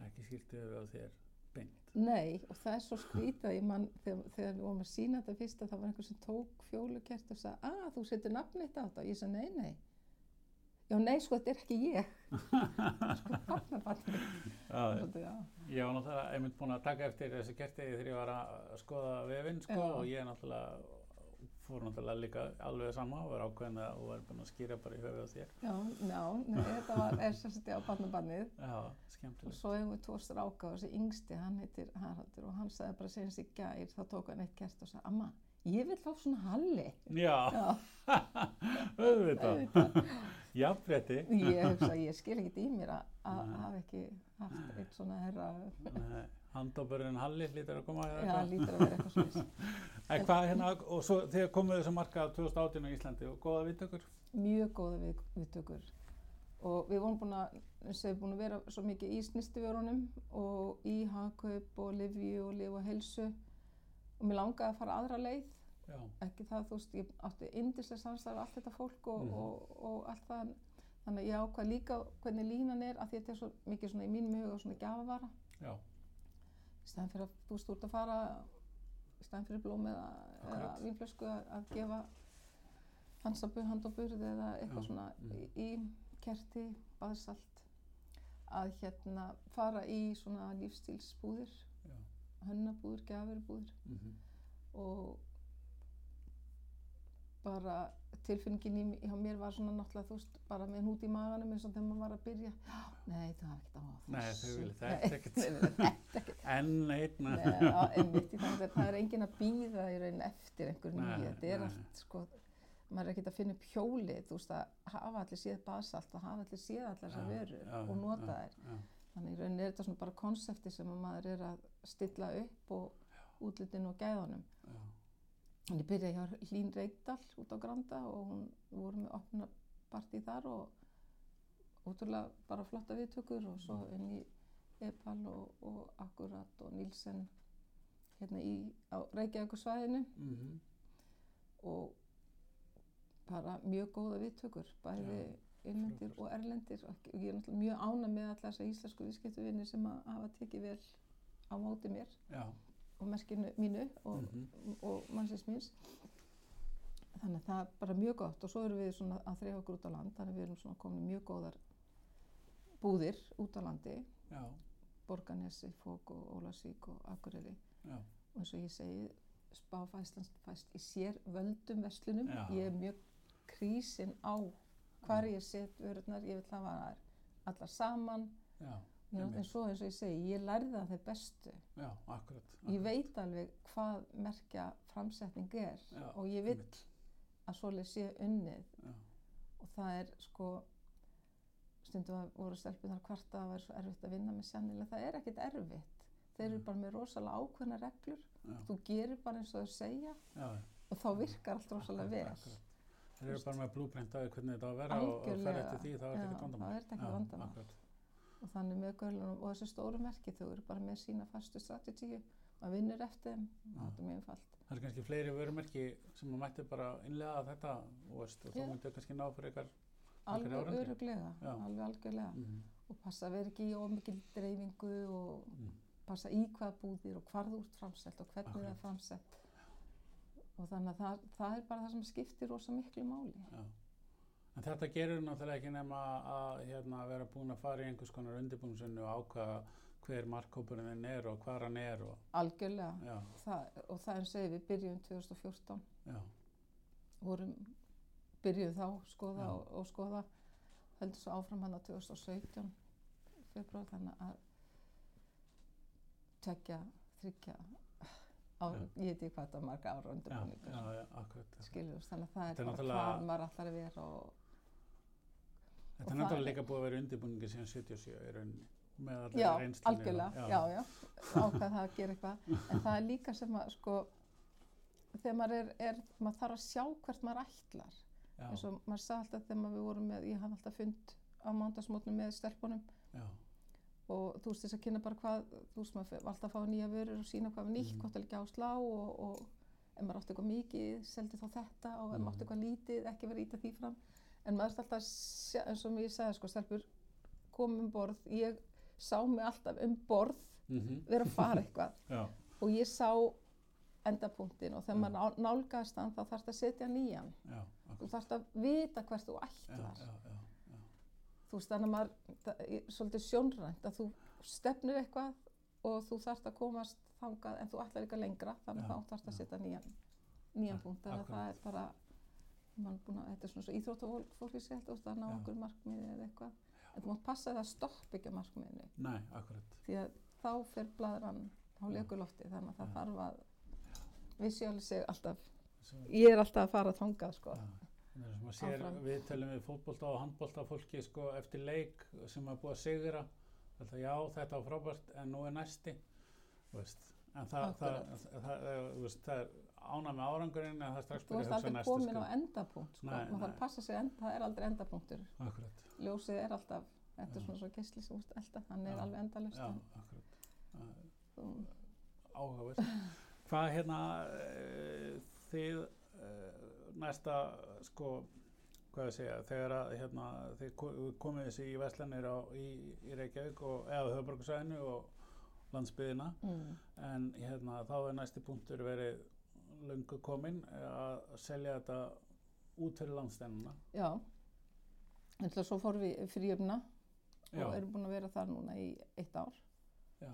[SPEAKER 1] ekki skiltið við á þér beint.
[SPEAKER 2] Nei, og það er svo skrítið að ég mann þegar, þegar við vorum að sína þetta fyrst að það var einhver sem tók fjólukert og sagði að þú setur nafn eitt á þetta og ég sagði nei, nei. Já, nei, sko, þetta er
[SPEAKER 1] (laughs)
[SPEAKER 2] ekki ég. sko, barnabarnið.
[SPEAKER 1] Já,
[SPEAKER 2] Svolítið, já.
[SPEAKER 1] Ég var náttúrulega einmitt búinn að taka eftir þessu kerti þegar ég var að skoða vefinn sko
[SPEAKER 2] Já.
[SPEAKER 1] og ég náttúrulega fór náttúrulega líka alveg sama og var ákveðin að þú var búin að skýra bara í höfuð á þér.
[SPEAKER 2] Já, já, nei, þetta var SSD á barnabannið
[SPEAKER 1] Já,
[SPEAKER 2] og
[SPEAKER 1] skemmtilegt.
[SPEAKER 2] svo hefum við tvo stráka og þessi yngsti, hann heitir Haraldur og hann sagði bara senast í gær, þá tók hann eitt kert og sagði, amma, ég vil fá svona halli.
[SPEAKER 1] Já,
[SPEAKER 2] Já,
[SPEAKER 1] auðvitað.
[SPEAKER 2] auðvitað.
[SPEAKER 1] Jafnrétti.
[SPEAKER 2] Ég hugsa, ég skil ekkert í mér að- að
[SPEAKER 1] Nei.
[SPEAKER 2] hafa ekki haft eitt svona herra,
[SPEAKER 1] Nei, Handóburinn Halli lítur að koma. eða
[SPEAKER 2] já,
[SPEAKER 1] eitthvað.
[SPEAKER 2] lítur að vera eitthvað svona.
[SPEAKER 1] En hvað hérna, og svo þegar komuð þessu markað 2018 á Íslandi og góða viðtökur?
[SPEAKER 2] mjög góða við, viðtökur og við vorum búin að, sem búin að vera svo mikið í snistuvörunum og í hagkaup og livju og lifa helsu og mér langaði að fara aðra leið
[SPEAKER 1] Já,
[SPEAKER 2] ekki það, þú veist, ég átti indislega samstarf allt þetta fólk og,
[SPEAKER 1] Mhm.
[SPEAKER 2] og, og allt það þannig að ég ákvað líka hvernig línan er að því að þetta er svo mikið svona í mínum huga svona gjafavara
[SPEAKER 1] já,
[SPEAKER 2] í staðan fyrir að þú stúrt að fara í staðan fyrir blóm eða, eða
[SPEAKER 1] Akkurat.
[SPEAKER 2] vínflösku að, að gefa hansabu, handaburð eða eitthvað
[SPEAKER 1] Já,
[SPEAKER 2] svona
[SPEAKER 1] mhm.
[SPEAKER 2] í, í kerti, baðsalt að hérna fara í svona lífstílsbúðir
[SPEAKER 1] já.
[SPEAKER 2] hönnabúðir, gjafurbúðir
[SPEAKER 1] Mm
[SPEAKER 2] og bara tilfinningin í, hjá mér var svona náttúrulega þú veist bara með hnút í maganum eins og þegar maður var að byrja (gasps) nei það var ekkert á þessu
[SPEAKER 1] Nei, þau vilja
[SPEAKER 2] (laughs) Nei,
[SPEAKER 1] þetta ekkert.
[SPEAKER 2] nei, nei, nei.
[SPEAKER 1] Enn einn.
[SPEAKER 2] Nei, já, einmitt, ég þannig að það er enginn að býða í raunin eftir einhver nýju,
[SPEAKER 1] Nei,
[SPEAKER 2] þetta er
[SPEAKER 1] nei.
[SPEAKER 2] allt sko, maður er ekkert að finna upp hjólið, þú veist að hafa allir séð basalt og hafa allir séð allar þessar
[SPEAKER 1] Já,
[SPEAKER 2] vörur
[SPEAKER 1] já,
[SPEAKER 2] og nota
[SPEAKER 1] já,
[SPEAKER 2] þær.
[SPEAKER 1] já.
[SPEAKER 2] Þannig í raunin er þetta svona bara konsepti sem að maður er að stilla upp og útlitinu og gæðunum.
[SPEAKER 1] Já.
[SPEAKER 2] En ég byrjaði hjá Hlín Reykdal út á Granda og hún við vorum með opna partí þar og útrúlega bara flotta viðtökur og svo inn í Epal og, og Akkurat og Nílsen hérna í, á Reykjavíkursvæðinu
[SPEAKER 1] Mhm.
[SPEAKER 2] og bara mjög góða viðtökur, bæði innlendir
[SPEAKER 1] frábært.
[SPEAKER 2] og erlendir og ekki- og ég er náttúrulega mjög ána með alla þessa íslensku viðskiptuvinni sem að hafa tekið vel á móti mér
[SPEAKER 1] Já, Mhm.
[SPEAKER 2] og merkinu mínu og, og mannsins míns þannig að það er bara mjög gott og svo erum við svona að þrefa okkur út á land þannig að við erum svona komin í mjög góðar búðir út á landi
[SPEAKER 1] já,
[SPEAKER 2] Borganesi, Fók og Ólasík og Akureyri
[SPEAKER 1] já.
[SPEAKER 2] og eins og ég segi spáfæslan fæst í sér völdum verslunum
[SPEAKER 1] Já. Mm.
[SPEAKER 2] ég er mjög krísin á hvar ég set vörurnar ég vil hafa þær allar saman
[SPEAKER 1] Já,
[SPEAKER 2] Ég er
[SPEAKER 1] Einmitt.
[SPEAKER 2] en svo eins og ég segi, ég lærði það þeir bestu
[SPEAKER 1] já, akkurat.
[SPEAKER 2] ég veit alveg hvað merkja framsetning er
[SPEAKER 1] Já,
[SPEAKER 2] og ég vil að svoleið sé unnið
[SPEAKER 1] Já.
[SPEAKER 2] og það er sko stundum að voru stelpunar kvarta að það væri svo erfitt að vinna með sjannilega, það er ekkert erfitt þeir eru bara með rosalega ákveðna reglur
[SPEAKER 1] Mm. Já.
[SPEAKER 2] þú gerir bara eins og þau segja
[SPEAKER 1] Já,
[SPEAKER 2] og þá virkar allt rosalega vel
[SPEAKER 1] Akkurat, akkurat. Þeir eru bara með blúprint á því hvernig þetta á að vera og, og fer
[SPEAKER 2] Algjörlega.
[SPEAKER 1] eftir því, þá er þetta
[SPEAKER 2] Já,
[SPEAKER 1] ekkert vandamál.
[SPEAKER 2] þá er þetta ekkert
[SPEAKER 1] Já,
[SPEAKER 2] vandamál.
[SPEAKER 1] akkurat.
[SPEAKER 2] og þannig með görlunum og þessu stóru merki þau eru bara með sína fastu strategíu maður vinnur eftir þeim,
[SPEAKER 1] Já.
[SPEAKER 2] það er mjög einfalt
[SPEAKER 1] Það er kannski fleiri vörumerki sem að mætti bara innlega að þetta þú veist, og þú
[SPEAKER 2] Já.
[SPEAKER 1] myndir kannski ná fyrir ykkar. Algjör
[SPEAKER 2] alveg
[SPEAKER 1] árangri.
[SPEAKER 2] öruglega,
[SPEAKER 1] Já.
[SPEAKER 2] alveg algjörlega
[SPEAKER 1] Mm.
[SPEAKER 2] og passa að vera ekki í ómikil dreifingu og
[SPEAKER 1] Mm.
[SPEAKER 2] passa í hvaða búðir og hvar þú ert framselt og hvernig það
[SPEAKER 1] Akkurat.
[SPEAKER 2] er framselt og þannig að það, það er bara það sem skiptir rosa miklu máli
[SPEAKER 1] Já. En þetta gerur náttúrulega ekki nema að hérna, vera búin að fara í einhvers konar undirbúinsunni og ákvaða hver markkópurinn þinn er og hvar hann er og
[SPEAKER 2] algjörlega
[SPEAKER 1] já,
[SPEAKER 2] það, og það er segið við byrjum 2014
[SPEAKER 1] já,
[SPEAKER 2] vorum byrjuð þá skoða
[SPEAKER 1] Já.
[SPEAKER 2] og, og skoða heldur svo áfram hann á 2017 februar þannig að tekja, þryggja á,
[SPEAKER 1] Já.
[SPEAKER 2] ég veit ekki hvað þetta er marga ára
[SPEAKER 1] já, já,
[SPEAKER 2] undirbúningur
[SPEAKER 1] já, akkurat. já.
[SPEAKER 2] skilur þú, þannig að það
[SPEAKER 1] Þetta er
[SPEAKER 2] er bara
[SPEAKER 1] náttúrulega-
[SPEAKER 2] hvað maður allar að vera og
[SPEAKER 1] Þetta
[SPEAKER 2] og
[SPEAKER 1] er
[SPEAKER 2] það-
[SPEAKER 1] náttúrulega líka búið að vera undirbúningi síðan 77 í rauninni með allir
[SPEAKER 2] Já,
[SPEAKER 1] reynslunni. og-
[SPEAKER 2] algjörlega, já, já, ákvað það að gera eitthvað, en það er líka sem að, sko, þegar maður er, er maður þarf að sjá hvert maður ætlar,
[SPEAKER 1] já,
[SPEAKER 2] eins og maður sagði alltaf þegar maður við vorum með, ég hafði alltaf fund á mándagsmótnum með stelpunum
[SPEAKER 1] já,
[SPEAKER 2] og þú veist þess að kynna bara hvað, þú veist maður var alltaf að fá nýja vörur og sína hvað var nýtt,
[SPEAKER 1] Mhm.
[SPEAKER 2] hvort er ekki áslá og, og ef maður átti eitthvað mikið, seldi þá þetta og ef
[SPEAKER 1] Mhm.
[SPEAKER 2] maður átti eitthvað lítið, ekki verið að íta því fram, en maður er alltaf, að sjá- eins og ég sagði, sko, stelpur, kom um borð, ég sá mig alltaf um borð
[SPEAKER 1] mhm,
[SPEAKER 2] vera
[SPEAKER 1] (laughs)
[SPEAKER 2] að fara eitthvað
[SPEAKER 1] já,
[SPEAKER 2] og ég sá endapunktin
[SPEAKER 1] Mm.
[SPEAKER 2] og þegar maður nál- nálgast hann þá þarf að setja nýjan
[SPEAKER 1] já,
[SPEAKER 2] þú
[SPEAKER 1] akkurat.
[SPEAKER 2] þarf að vita hvert þú
[SPEAKER 1] Já,
[SPEAKER 2] ætlar
[SPEAKER 1] já, já,
[SPEAKER 2] þú veist þannig að maður það er svolítið sjónrænt að þú stefnir eitthvað og þú þarf að komast þangað en þú ætlar eitthvað lengra
[SPEAKER 1] Já,
[SPEAKER 2] þannig að þá þarf
[SPEAKER 1] já.
[SPEAKER 2] að setja
[SPEAKER 1] Ja,
[SPEAKER 2] nýjan nýjan punkt þannig að það
[SPEAKER 1] akkurat.
[SPEAKER 2] er bara mann búin að, þetta er svona svo íþróttafólk fólki sér alltaf að ná
[SPEAKER 1] Já.
[SPEAKER 2] okkur markmiði eða eitthvað en þú mátt passa það að stoppa ekki á markmiðinu
[SPEAKER 1] Nei, akkurat.
[SPEAKER 2] því að þá fer blaðran á
[SPEAKER 1] Já.
[SPEAKER 2] lögulofti þannig að það
[SPEAKER 1] Já.
[SPEAKER 2] þarf að visjóli sig alltaf
[SPEAKER 1] Svo,
[SPEAKER 2] ég er alltaf að fara að þangað sko
[SPEAKER 1] Já. Það er sem að sér,
[SPEAKER 2] Áfram.
[SPEAKER 1] við tölum við fótbolta og handbolta fólki sko eftir leik sem er búið að sigra. Þetta, já, þetta var frábært en nú er næsti. þú Veist. En það, það,
[SPEAKER 2] Akkurat.
[SPEAKER 1] það, það, er, þú veist, það er ánað með árangurinn en það er strax
[SPEAKER 2] þú
[SPEAKER 1] byrjað
[SPEAKER 2] ert
[SPEAKER 1] að hugsa
[SPEAKER 2] aldrei
[SPEAKER 1] næsti
[SPEAKER 2] komin
[SPEAKER 1] sko.
[SPEAKER 2] á endapunkt sko
[SPEAKER 1] Nei,
[SPEAKER 2] maður þarf
[SPEAKER 1] nei.
[SPEAKER 2] að passa sig, enda, það er aldrei endapunktur
[SPEAKER 1] Akkurat.
[SPEAKER 2] ljósið er alltaf, þetta
[SPEAKER 1] Já.
[SPEAKER 2] er svona svo gæsli sem úst alltaf, hann er
[SPEAKER 1] Já.
[SPEAKER 2] alveg endalust
[SPEAKER 1] Já, akkurat. Það er
[SPEAKER 2] þú,
[SPEAKER 1] Áhugavert. Hvað hérna eh, þið eh, næsta sko hvað ég segja, þegar að hérna, þið ko- komið þessi í Vestlanir á, í, í Reykjavík og eða höfbruksvæðinu og landsbyðina
[SPEAKER 2] mm.
[SPEAKER 1] en hérna þá er næsti punktur verið löngu kominn eh, að selja þetta út fyrir landstennina.
[SPEAKER 2] já en til að svo fórum við fríöfna
[SPEAKER 1] Já,
[SPEAKER 2] og erum búin að vera þar núna í eitt ár
[SPEAKER 1] já,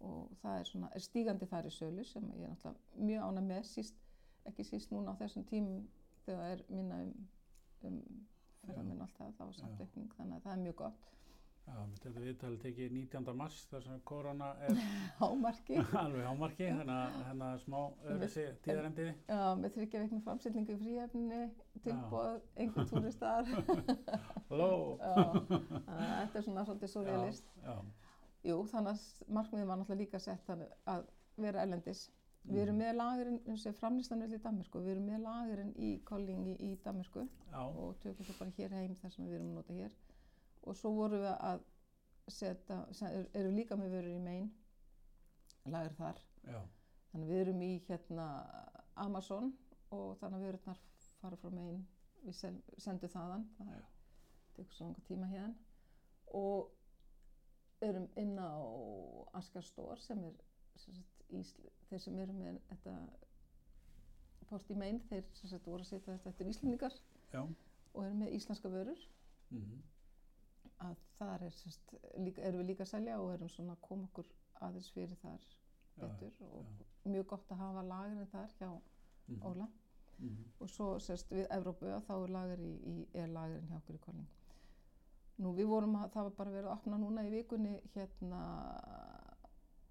[SPEAKER 2] og það er, svona, er stígandi þar í sölu sem ég er náttúrulega mjög ána með síst, ekki síst núna á þessum tímum þegar það er minna um, um ferðamenn alltaf þá er
[SPEAKER 1] Já.
[SPEAKER 2] samtreikning þannig að það er mjög gott (laughs)
[SPEAKER 1] já, mitt þetta viðtal tekið 19. mars þar sem korona er
[SPEAKER 2] hámarki
[SPEAKER 1] (laughs) alveg hámarki, þannig að hérna smá öðruðsi tíðarendiði.
[SPEAKER 2] já, með þryggja veikna framsetningu í fríhefni tilbúð,
[SPEAKER 1] (laughs)
[SPEAKER 2] einhver túristar já,
[SPEAKER 1] Halló! (laughs)
[SPEAKER 2] þannig að þetta er svona svolítið svo realist
[SPEAKER 1] Já,
[SPEAKER 2] jú, þannig að markmiðið var náttúrulega líka sett þannig að vera erlendis við
[SPEAKER 1] Mhm.
[SPEAKER 2] erum með lagurinn, eins og framlýslan öll í Danmörku, við erum með lagurinn í Kollingi í Danmörku
[SPEAKER 1] já,
[SPEAKER 2] og tökum svo bara hér heim þar sem við erum að nota hér og svo vorum við að setja, se- er- erum líka með vörur í mein lagur þar
[SPEAKER 1] já,
[SPEAKER 2] þannig að við erum í hérna Amazon og þannig að vörurnar fara frá mein við sel, sendum þaðan það
[SPEAKER 1] Já.
[SPEAKER 2] tekur svo langar tíma hérna og erum inn á Askastór sem er sem sagt, Ísl, þeir sem eru með þetta port í mein þeir sem sagt, voru að setja þetta eftir Íslendingar
[SPEAKER 1] já.
[SPEAKER 2] og erum með íslenska vörur
[SPEAKER 1] mhm,
[SPEAKER 2] að þar er, sérst, líka, erum við líka að selja og erum svona að koma okkur aðeins fyrir þar
[SPEAKER 1] já,
[SPEAKER 2] betur og mjög gott að hafa lagirinn þar hjá
[SPEAKER 1] mhm,
[SPEAKER 2] Óla
[SPEAKER 1] mhm,
[SPEAKER 2] og svo sérst við Evrópu að þá er, lager í, í, er lagirinn hjá okkur í Kolling. Nú við vorum að, það var bara verið að opna núna í vikunni hérna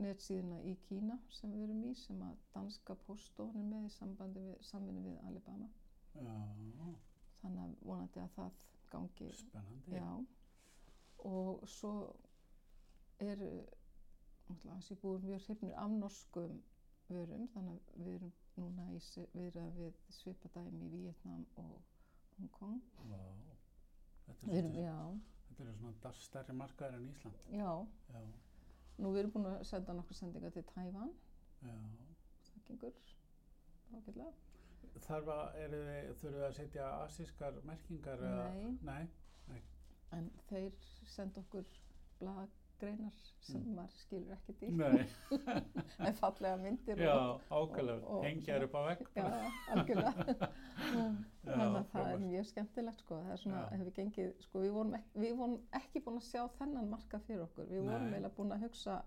[SPEAKER 2] netsíðuna í Kína sem við erum í sem að danska postofan er með í sambandi við, samvinni við Alibaba
[SPEAKER 1] Já,
[SPEAKER 2] þannig að vonandi að það gangi
[SPEAKER 1] spennandi.
[SPEAKER 2] Já, og svo uh, eru þessi búin mjög hrifnir af norskum vörum, þannig að við erum núna í se- viðræðum við svipadæmi í Vietnam og Hong Kong.
[SPEAKER 1] Vá. Þetta
[SPEAKER 2] Við
[SPEAKER 1] er
[SPEAKER 2] erum,
[SPEAKER 1] svolítið-
[SPEAKER 2] já,
[SPEAKER 1] þetta eru svona das- stærri markaðar en Ísland.
[SPEAKER 2] já,
[SPEAKER 1] Já,
[SPEAKER 2] nú við erum búin að senda nokkur sendingar til Tævan,
[SPEAKER 1] já.
[SPEAKER 2] það gengur ágætlega.
[SPEAKER 1] Þarf að, eru þið, þurfum við að setja asískar merkingar? eða-
[SPEAKER 2] Nei,
[SPEAKER 1] Nei,
[SPEAKER 2] en þeir senda okkur blaggreinar sem
[SPEAKER 1] Mm.
[SPEAKER 2] maður skilur ekkert í, (laughs)
[SPEAKER 1] nei,
[SPEAKER 2] en fallega myndir og
[SPEAKER 1] já, ákveðlega,
[SPEAKER 2] og-
[SPEAKER 1] hengja þér upp á vegg.
[SPEAKER 2] Já, já, algjörlega.
[SPEAKER 1] (laughs)
[SPEAKER 2] (laughs) Mm.
[SPEAKER 1] Já,
[SPEAKER 2] Þannig að það er
[SPEAKER 1] frábært.
[SPEAKER 2] mjög skemmtilegt sko. Það er svona,
[SPEAKER 1] Já.
[SPEAKER 2] hefur gengið, sko, við vorum, ekki, við vorum ekki búin að sjá þennan marka fyrir okkur. Við vorum
[SPEAKER 1] Nei.
[SPEAKER 2] eiginlega búin að hugsa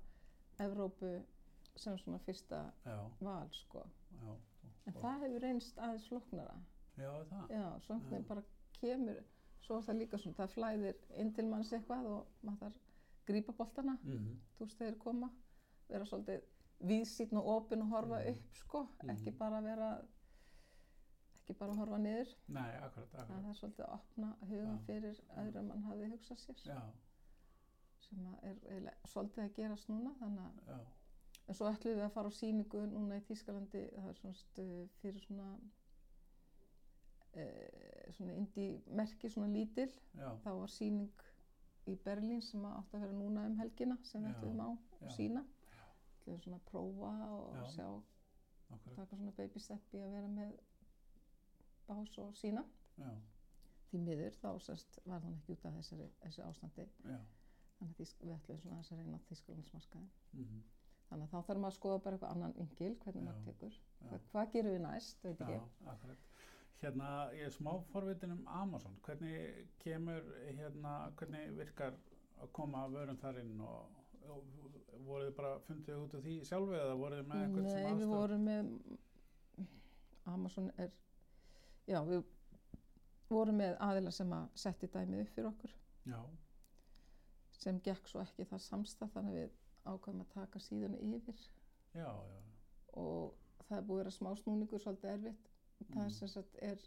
[SPEAKER 2] Evrópu sem svona fyrsta
[SPEAKER 1] Já,
[SPEAKER 2] val sko.
[SPEAKER 1] já.
[SPEAKER 2] En
[SPEAKER 1] Og-
[SPEAKER 2] það hefur reynst aðeins floknara.
[SPEAKER 1] Já, það.
[SPEAKER 2] Já, svona
[SPEAKER 1] Já.
[SPEAKER 2] þegar bara kemur, svo er það líka svona, það flæðir inn til manns eitthvað og maður þarf grípa boltana,
[SPEAKER 1] Mhm,
[SPEAKER 2] þú veist þeir koma, vera svolítið víðsýtn og opinn og horfa
[SPEAKER 1] Mhm.
[SPEAKER 2] upp sko, ekki
[SPEAKER 1] Mhm.
[SPEAKER 2] bara vera, ekki bara horfa niður.
[SPEAKER 1] Nei, akkurat,
[SPEAKER 2] að
[SPEAKER 1] akkurat.
[SPEAKER 2] það er svolítið að opna hugan
[SPEAKER 1] Já.
[SPEAKER 2] fyrir öðru en mann hafði hugsað sér
[SPEAKER 1] Já,
[SPEAKER 2] sem að er eiginlega svolítið að gerast núna þannig að,
[SPEAKER 1] já,
[SPEAKER 2] en svo ætlum við að fara á síningu núna í Þýskalandi það er svona stu- fyrir svona e, svona indi merki svona lítil
[SPEAKER 1] já,
[SPEAKER 2] þá var síning í Berlín sem að átti að vera núna um helgina sem
[SPEAKER 1] Já,
[SPEAKER 2] við ætlum á
[SPEAKER 1] já.
[SPEAKER 2] og sína ætlum svona að prófa og
[SPEAKER 1] Já.
[SPEAKER 2] sjá
[SPEAKER 1] akkurat,
[SPEAKER 2] taka svona baby step í að vera með bás og sína
[SPEAKER 1] já,
[SPEAKER 2] því miður þá semst var hún ekki út af þessari, þessu ástandi
[SPEAKER 1] já.
[SPEAKER 2] þannig að þýsk, við ætlum svona aðeins að reyna þýskalandsmarkaðin
[SPEAKER 1] mhm,
[SPEAKER 2] þannig að þá þarf maður að skoða bara eitthvað annan yngil hvernig
[SPEAKER 1] Já,
[SPEAKER 2] maður tekur,
[SPEAKER 1] já.
[SPEAKER 2] Hva, hvað gerum við næst veit ekki,
[SPEAKER 1] Já, akkurat. Hérna, ég er smá forvitin um Amazon. Hvernig kemur, hérna, hvernig virkar að koma vörum þar inn og, og voruð þið bara fundið út af því sjálfu eða voruð þið með eitthvað sem
[SPEAKER 2] nei við
[SPEAKER 1] aðstöð?
[SPEAKER 2] vorum með Amazon er, já, við vorum með aðila sem að setti dæmið upp fyrir okkur
[SPEAKER 1] já,
[SPEAKER 2] sem gekk svo ekki það samstað þannig að við ákveðum að taka síðan yfir
[SPEAKER 1] já, já,
[SPEAKER 2] og það er búið að vera smá snúningur svolítið erfitt. Það
[SPEAKER 1] Mhm.
[SPEAKER 2] sem sagt er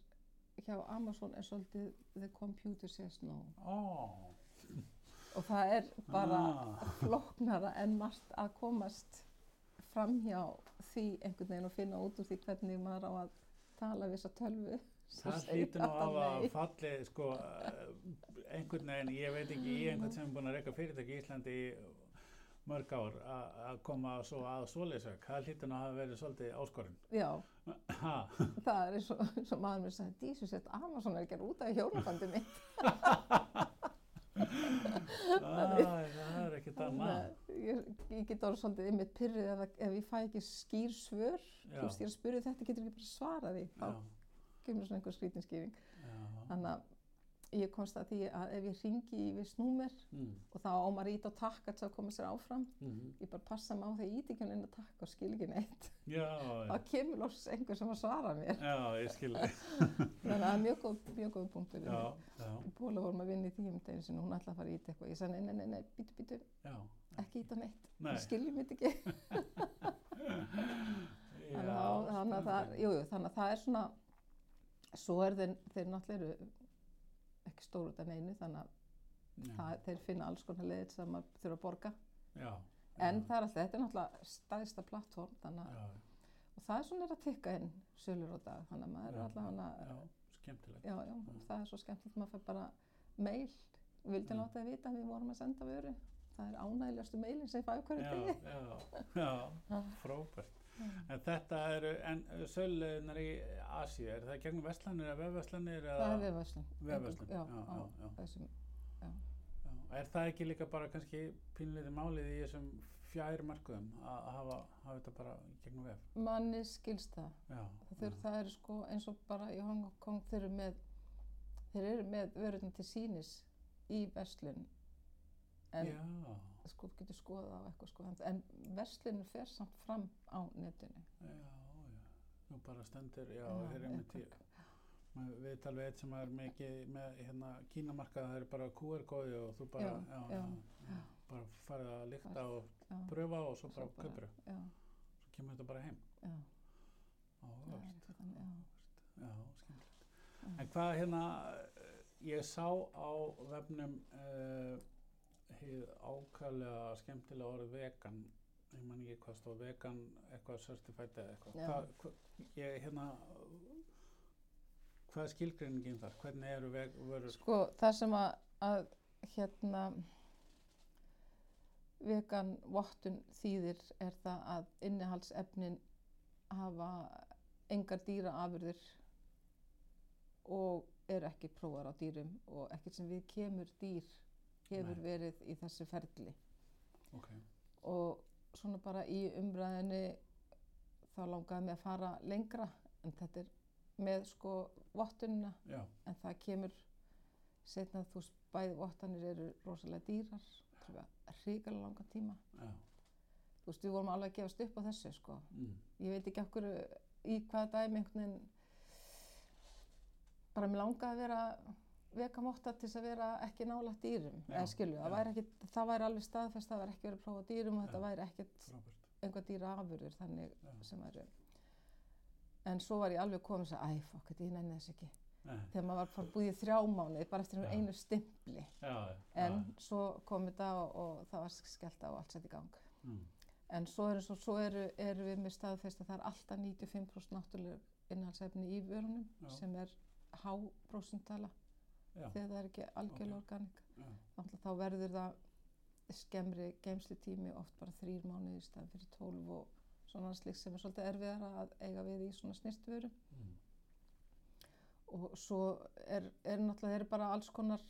[SPEAKER 2] hjá Amazon er svolítið the computer says no
[SPEAKER 1] ó,
[SPEAKER 2] og það er bara
[SPEAKER 1] ah,
[SPEAKER 2] flóknara en margt að komast fram hjá því einhvern veginn og finna út úr því hvernig maður á að tala við þessa tölvu sem
[SPEAKER 1] það
[SPEAKER 2] segir
[SPEAKER 1] hlýtur nú
[SPEAKER 2] alltaf
[SPEAKER 1] af að
[SPEAKER 2] nei.
[SPEAKER 1] falli, sko, eh, einhvern veginn, ég veit ekki, ég
[SPEAKER 2] Mm.
[SPEAKER 1] einhvern sem er búin að reyka fyrirtæki í Íslandi í mörg ár a- að koma svo að svoleiðsök, það hlýtur nú að hafa verið svolítið áskorun.
[SPEAKER 2] Já,
[SPEAKER 1] Ha,
[SPEAKER 2] það er eins og, eins og maður mér sagði, Dísu sett Amazon er ekki út af hjólabandi mitt.
[SPEAKER 1] Æ, það er ekkert annað.
[SPEAKER 2] Þannig að Ég, ég get orðið svolítið ymmið pyrrið ef, ef ég fæ ekki skýr svör,
[SPEAKER 1] Já.
[SPEAKER 2] þú veist ég er að spyrja þetta getur ekki bara svarað því, þá
[SPEAKER 1] Já,
[SPEAKER 2] kemur svona einhver skrítinskýring.
[SPEAKER 1] já,
[SPEAKER 2] Þannig að ég komst að því að ef ég ringi í viss númer
[SPEAKER 1] mm,
[SPEAKER 2] og þá á maður að íta á takka til að koma sér áfram,
[SPEAKER 1] mhm.
[SPEAKER 2] ég bara passa mig á því að íti ekki hún inn að takka og skil ekki neitt.
[SPEAKER 1] já,
[SPEAKER 2] Þá
[SPEAKER 1] já,
[SPEAKER 2] kemur loks einhver sem að svara mér.
[SPEAKER 1] já, ég skil þig,
[SPEAKER 2] Þannig að það er mjög góð, mjög góð punktur. í
[SPEAKER 1] já,
[SPEAKER 2] því.
[SPEAKER 1] já,
[SPEAKER 2] Bóla vorum að vinna í því um daginn sinni, hún ætlaði að fara að íta eitthvað. Ég sagði, nei, nei, nei, nei, bítu, bítu,
[SPEAKER 1] já,
[SPEAKER 2] ekki íta neitt.
[SPEAKER 1] nei.
[SPEAKER 2] Þú skiljum þetta ekki. Þannig
[SPEAKER 1] Já,
[SPEAKER 2] að, þá- þannig að það,
[SPEAKER 1] spennandi.
[SPEAKER 2] jú, jú, þannig að það er svona, svo er þeir, þeir náttúrulega eru ekki stór út af neinu, þannig að
[SPEAKER 1] Já,
[SPEAKER 2] það, þeir finna alls konar leiðir sem maður þurfa að borga.
[SPEAKER 1] já,
[SPEAKER 2] En
[SPEAKER 1] já,
[SPEAKER 2] það er alltaf, þetta er náttúrulega staðista plattform, þannig að,
[SPEAKER 1] já,
[SPEAKER 2] og það er svona er að tikka inn sölur á dag, þannig að maður
[SPEAKER 1] Já,
[SPEAKER 2] er alltaf hana,
[SPEAKER 1] já, skemmtilegt.
[SPEAKER 2] já, já, það er svo skemmtilegt, maður fær bara mail, við vildum
[SPEAKER 1] Já.
[SPEAKER 2] láta þið vita að við vorum að senda vöru, það er ánægilegastu mailin sem ég fæ á hverju
[SPEAKER 1] Já,
[SPEAKER 2] degi.
[SPEAKER 1] já, já, frábært. En þetta eru, en sölunar í Asíu, er það gegnum verslanir eða vefverslanir eða?
[SPEAKER 2] Það er vefverslun.
[SPEAKER 1] Vefverslun,
[SPEAKER 2] Já,
[SPEAKER 1] já, já, já.
[SPEAKER 2] þessum,
[SPEAKER 1] Já, Er það ekki líka bara kannski pínleiti málið í þessum fjær markuðum að hafa, hafa þetta bara í gegnum vef?
[SPEAKER 2] manni skilst það.
[SPEAKER 1] Já,
[SPEAKER 2] Það,
[SPEAKER 1] Mm.
[SPEAKER 2] þur, það eru sko eins og bara í Hong Kong þeir eru með, þeir eru með vörðin til sínis í verslun en
[SPEAKER 1] já,
[SPEAKER 2] sko þú getur skoða á eitthvað sko en- en verslunum fer samt fram á netinu.
[SPEAKER 1] já, já. Nú bara stendur, já,
[SPEAKER 2] Já,
[SPEAKER 1] þeir eru með tíu.
[SPEAKER 2] eitthvað.
[SPEAKER 1] Við talveg eitt sem er mikið með hérna, kínamarkað, það er bara QR-kóði og þú bara,
[SPEAKER 2] Já,
[SPEAKER 1] já,
[SPEAKER 2] já,
[SPEAKER 1] já, bara farið að líkta
[SPEAKER 2] Farð,
[SPEAKER 1] og
[SPEAKER 2] Já,
[SPEAKER 1] pröfa og svo
[SPEAKER 2] Svo
[SPEAKER 1] bara
[SPEAKER 2] bara-
[SPEAKER 1] kaupir,
[SPEAKER 2] já,
[SPEAKER 1] svo kemur þetta bara heim.
[SPEAKER 2] já, það er
[SPEAKER 1] Áhugavert.
[SPEAKER 2] eitthvað þannig, já.
[SPEAKER 1] Já, skemmtilegt.
[SPEAKER 2] Mm.
[SPEAKER 1] En hvað hérna, eh, ég sá á vefnum uh, hið ákvæðlega skemmtilega orð vegan, ég man ekki hvað stóð, vegan eitthvað certified eða eitthvað.
[SPEAKER 2] Já.
[SPEAKER 1] Hvað, hva, ég hérna, hvað er skilgreiningin þar? Hvernig eru veg, vörur?
[SPEAKER 2] Sko það sem að, að hérna vegan vottun þýðir er það að innihaldsefnin hafa engar dýra afurðir og er ekki prófar á dýrum og ekkert sem við kemur dýr hefur
[SPEAKER 1] Nei.
[SPEAKER 2] verið í þessu ferli
[SPEAKER 1] Ok,
[SPEAKER 2] og svona bara í umræðinni þá langaði mig að fara lengra en þetta er með sko vottunina
[SPEAKER 1] já,
[SPEAKER 2] en það kemur setna þú veist bæði vottanir eru rosalega dýrar það er hrikalega langan tíma
[SPEAKER 1] já,
[SPEAKER 2] þú veist við vorum alveg að gefast upp á þessu sko
[SPEAKER 1] mm,
[SPEAKER 2] ég veit ekki okkur í hvaða dæmi einhvern veginn bara mér langaði að vera vegamotta til þess að vera ekki nálægt dýrum
[SPEAKER 1] Já,
[SPEAKER 2] eða skilju, það
[SPEAKER 1] já.
[SPEAKER 2] væri, ekki, það væri alveg staðfest það væri ekki verið að prófa á dýrum og þetta
[SPEAKER 1] Já.
[SPEAKER 2] væri ekkert
[SPEAKER 1] frábært.
[SPEAKER 2] einhver dýra afurður þannig
[SPEAKER 1] Já.
[SPEAKER 2] sem væri en svo var ég alveg komin og sagði, æ, fokk, þetta ég nenni þess ekki
[SPEAKER 1] Nei,
[SPEAKER 2] þegar maður var bara búið í þrjá mánuði bara eftir um
[SPEAKER 1] Já.
[SPEAKER 2] einu stimpli
[SPEAKER 1] Já, já.
[SPEAKER 2] en svo kom þetta og, og það var skellt á og allt sett í gang
[SPEAKER 1] Mm,
[SPEAKER 2] en svo eru, svo, svo eru, eru við með staðfest að það er alltaf 95% náttúrulega innhaldsefni í vörunum
[SPEAKER 1] Já.
[SPEAKER 2] sem er há prósentala
[SPEAKER 1] já,
[SPEAKER 2] þegar það er ekki algjörlega
[SPEAKER 1] Ok.
[SPEAKER 2] organik
[SPEAKER 1] já,
[SPEAKER 2] Þannig að þá verður það skemmri geimslutími oft bara þrýr mánuði í staðan fyrir 12 og svona slik sem er svolítið erfiðara að eiga við í svona snirtvöru
[SPEAKER 1] mm,
[SPEAKER 2] og svo er, er náttúrulega er bara alls konar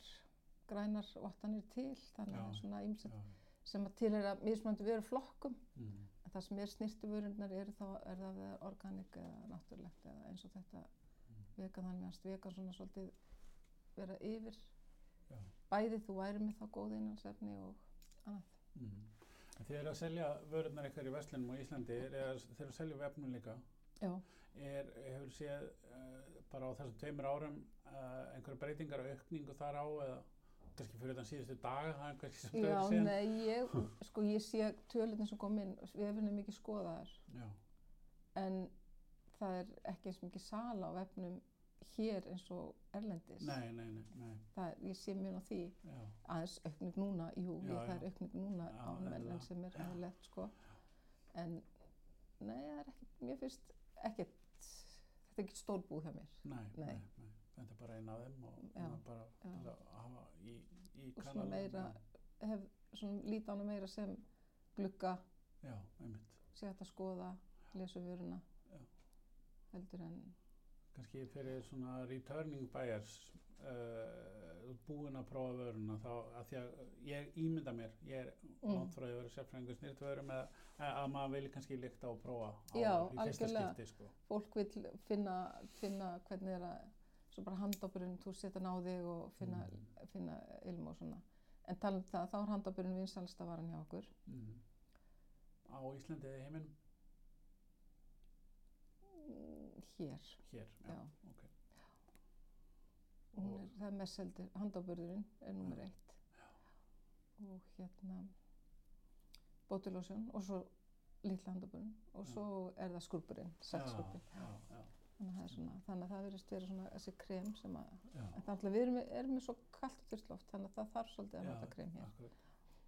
[SPEAKER 2] grænar vattanir til þannig
[SPEAKER 1] Já,
[SPEAKER 2] að það er svona ímsett
[SPEAKER 1] já,
[SPEAKER 2] sem að til er að mismöndu veru flokkum
[SPEAKER 1] mm,
[SPEAKER 2] en það sem er snirtivörundnar eru þá er það vegar organik eða náttúrulegt eða eins og þetta
[SPEAKER 1] Mhm.
[SPEAKER 2] vegan þannig að vegan svona svolítið vera yfir
[SPEAKER 1] Já.
[SPEAKER 2] bæði þú væri með þá góð innanstefni og annað
[SPEAKER 1] Mhm. mm. En Þið eru að selja vörurnar ykkar í Vestlunum á Íslandi, eða þið eru að selja vefnum líka?
[SPEAKER 2] já.
[SPEAKER 1] er, hefur séð uh, bara á þessum tveimur árum uh, einhverja breytingar og aukningu þar á eða kannski fyrir þann síðustu daga það er kannski sem
[SPEAKER 2] Já,
[SPEAKER 1] þau séð
[SPEAKER 2] nei, ég, sko, ég sé tölirni sem kom inn, við hefum henni mikið skoðaðar,
[SPEAKER 1] Já,
[SPEAKER 2] en það er ekki eins mikið sala á vefnum hér eins og erlendis.
[SPEAKER 1] nei, nei, nei, nei
[SPEAKER 2] Það, er- ég sé mjög á því
[SPEAKER 1] já,
[SPEAKER 2] aðeins aukning núna, jú,
[SPEAKER 1] Já,
[SPEAKER 2] ég, það
[SPEAKER 1] já.
[SPEAKER 2] er aukning núna
[SPEAKER 1] Já,
[SPEAKER 2] á
[SPEAKER 1] nefnilega.
[SPEAKER 2] menn sem er aðlegt, sko. En, nei, það er ekki, mér finnst ekkert, þetta er ekki stórbúð hjá mér.
[SPEAKER 1] nei, nei,
[SPEAKER 2] Nei.
[SPEAKER 1] nei, þetta er bara einn af þeim og
[SPEAKER 2] Já,
[SPEAKER 1] það er bara
[SPEAKER 2] já.
[SPEAKER 1] til að hafa í, í
[SPEAKER 2] Og svona
[SPEAKER 1] kananum.
[SPEAKER 2] meira, hef svona lítið á hana meira sem glugga,
[SPEAKER 1] Já, einmitt
[SPEAKER 2] sé hægt að skoða, lesa vöruna,
[SPEAKER 1] Já.
[SPEAKER 2] heldur en,
[SPEAKER 1] kannski fyrir svona returning buyers uh, búin að prófa vöruna þá að því að ég ímynda mér ég er
[SPEAKER 2] Mm.
[SPEAKER 1] langt frá því að vera sérfræðingur snýrt vörum eða að, að maður vil kannski líkta og prófa á
[SPEAKER 2] Já,
[SPEAKER 1] í fyrsta
[SPEAKER 2] algjörlega.
[SPEAKER 1] skipti sko.
[SPEAKER 2] fólk vil finna, finna hvernig er að svo bara handopurinn, þú setja náði og finna,
[SPEAKER 1] Mm.
[SPEAKER 2] finna ilm og svona. En tala um það, þá er handopurinn vinsalsta varan hjá okkur.
[SPEAKER 1] mm. á Íslandi eða í heiminum
[SPEAKER 2] Mm, Hér,
[SPEAKER 1] hér,
[SPEAKER 2] já.
[SPEAKER 1] já, ok.
[SPEAKER 2] Hún
[SPEAKER 1] Og-
[SPEAKER 2] er, það er mest seldur, handopurinn er nummer
[SPEAKER 1] Já.
[SPEAKER 2] eitt. Og hérna, bótulósjón og svo litla handopurinn og
[SPEAKER 1] Já.
[SPEAKER 2] svo er það skrúpurinn, saltskúpurinn.
[SPEAKER 1] já, já,
[SPEAKER 2] Þannig að það er svona, þannig að það verðist vera svona þessi krem sem að
[SPEAKER 1] já,
[SPEAKER 2] En það er alltaf, við erum, erum með svo kallt og þurrt loft, þannig að það þarf svolítið að
[SPEAKER 1] Já,
[SPEAKER 2] nota krem hér.
[SPEAKER 1] akkurat.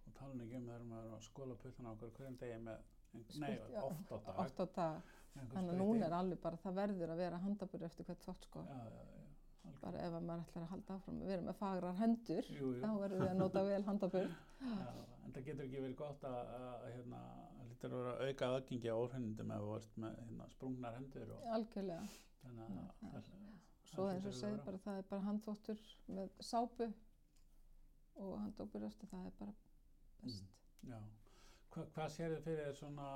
[SPEAKER 1] og talin ekki um þegar maður er að skóla puttana okkur hverjum degi með Nei,
[SPEAKER 2] Spurt- já,
[SPEAKER 1] oft á dag.
[SPEAKER 2] Oft á dag. Þannig að núna er alveg bara, það verður að vera handabur eftir hvert þótt sko.
[SPEAKER 1] Já, já, já. algjörlega.
[SPEAKER 2] Bara ef að maður ætlar að halda áfram, við erum með fagrar hendur,
[SPEAKER 1] Jú, jú.
[SPEAKER 2] þá verður við að nota vel
[SPEAKER 1] (laughs)
[SPEAKER 2] handabur.
[SPEAKER 1] Já, en það getur ekki verið gott að, að hérna, það lítur að vera auka aðgengi á orðhennindum ef þú ert með hérna, sprungnar hendur og
[SPEAKER 2] Algjörlega.
[SPEAKER 1] þannig að
[SPEAKER 2] Já.
[SPEAKER 1] það-
[SPEAKER 2] Svo
[SPEAKER 1] Það
[SPEAKER 2] eins og
[SPEAKER 1] hlýtur að
[SPEAKER 2] segir
[SPEAKER 1] vera.
[SPEAKER 2] bara, það er bara handþvottur með sápu og handabur eftir, það er bara best.
[SPEAKER 1] já. Hva, hvað sér þið fyrir þér svona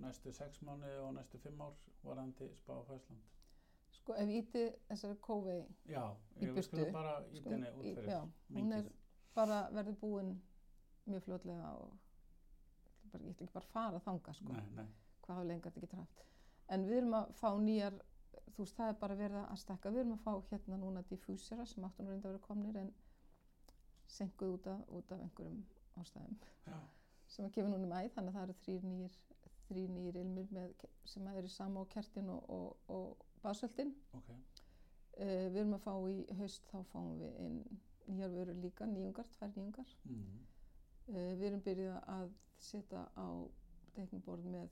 [SPEAKER 1] næstu sex mánuði og næstu fimm ár varandi spá á Fæsland?
[SPEAKER 2] Sko ef ítið þessari kóvei,
[SPEAKER 1] Já,
[SPEAKER 2] Í
[SPEAKER 1] ég
[SPEAKER 2] burtu.
[SPEAKER 1] skulum bara í
[SPEAKER 2] sko,
[SPEAKER 1] þenni út
[SPEAKER 2] í-
[SPEAKER 1] fyrir
[SPEAKER 2] já, hún er
[SPEAKER 1] mingið.
[SPEAKER 2] bara verður búin mjög fljótlega og ég ætla bara- ég ætla ekki bara að fara þanga sko,
[SPEAKER 1] Nei, nei,
[SPEAKER 2] hvað hafa lengi þetta ekki træft. En við erum að fá nýjar, þú veist það er bara verið að stekka, við erum að fá hérna núna diffusera sem áttu nú reynda að vera komnir en senkuð út af, út af einhverjum ástæðum
[SPEAKER 1] já,
[SPEAKER 2] sem að kemur núna í mæ, þannig að það eru þrýr nýjir, þrýr nýjir ilmir með, ke- sem að eru sama á kertin og, og, og basöldin.
[SPEAKER 1] ok,
[SPEAKER 2] Uh, við erum að fá í haust, þá fáum við inn nýjar vörur líka, nýjungar, tvær nýjungar.
[SPEAKER 1] mm,
[SPEAKER 2] Uh, við erum byrjuð að setja á teiknuborð með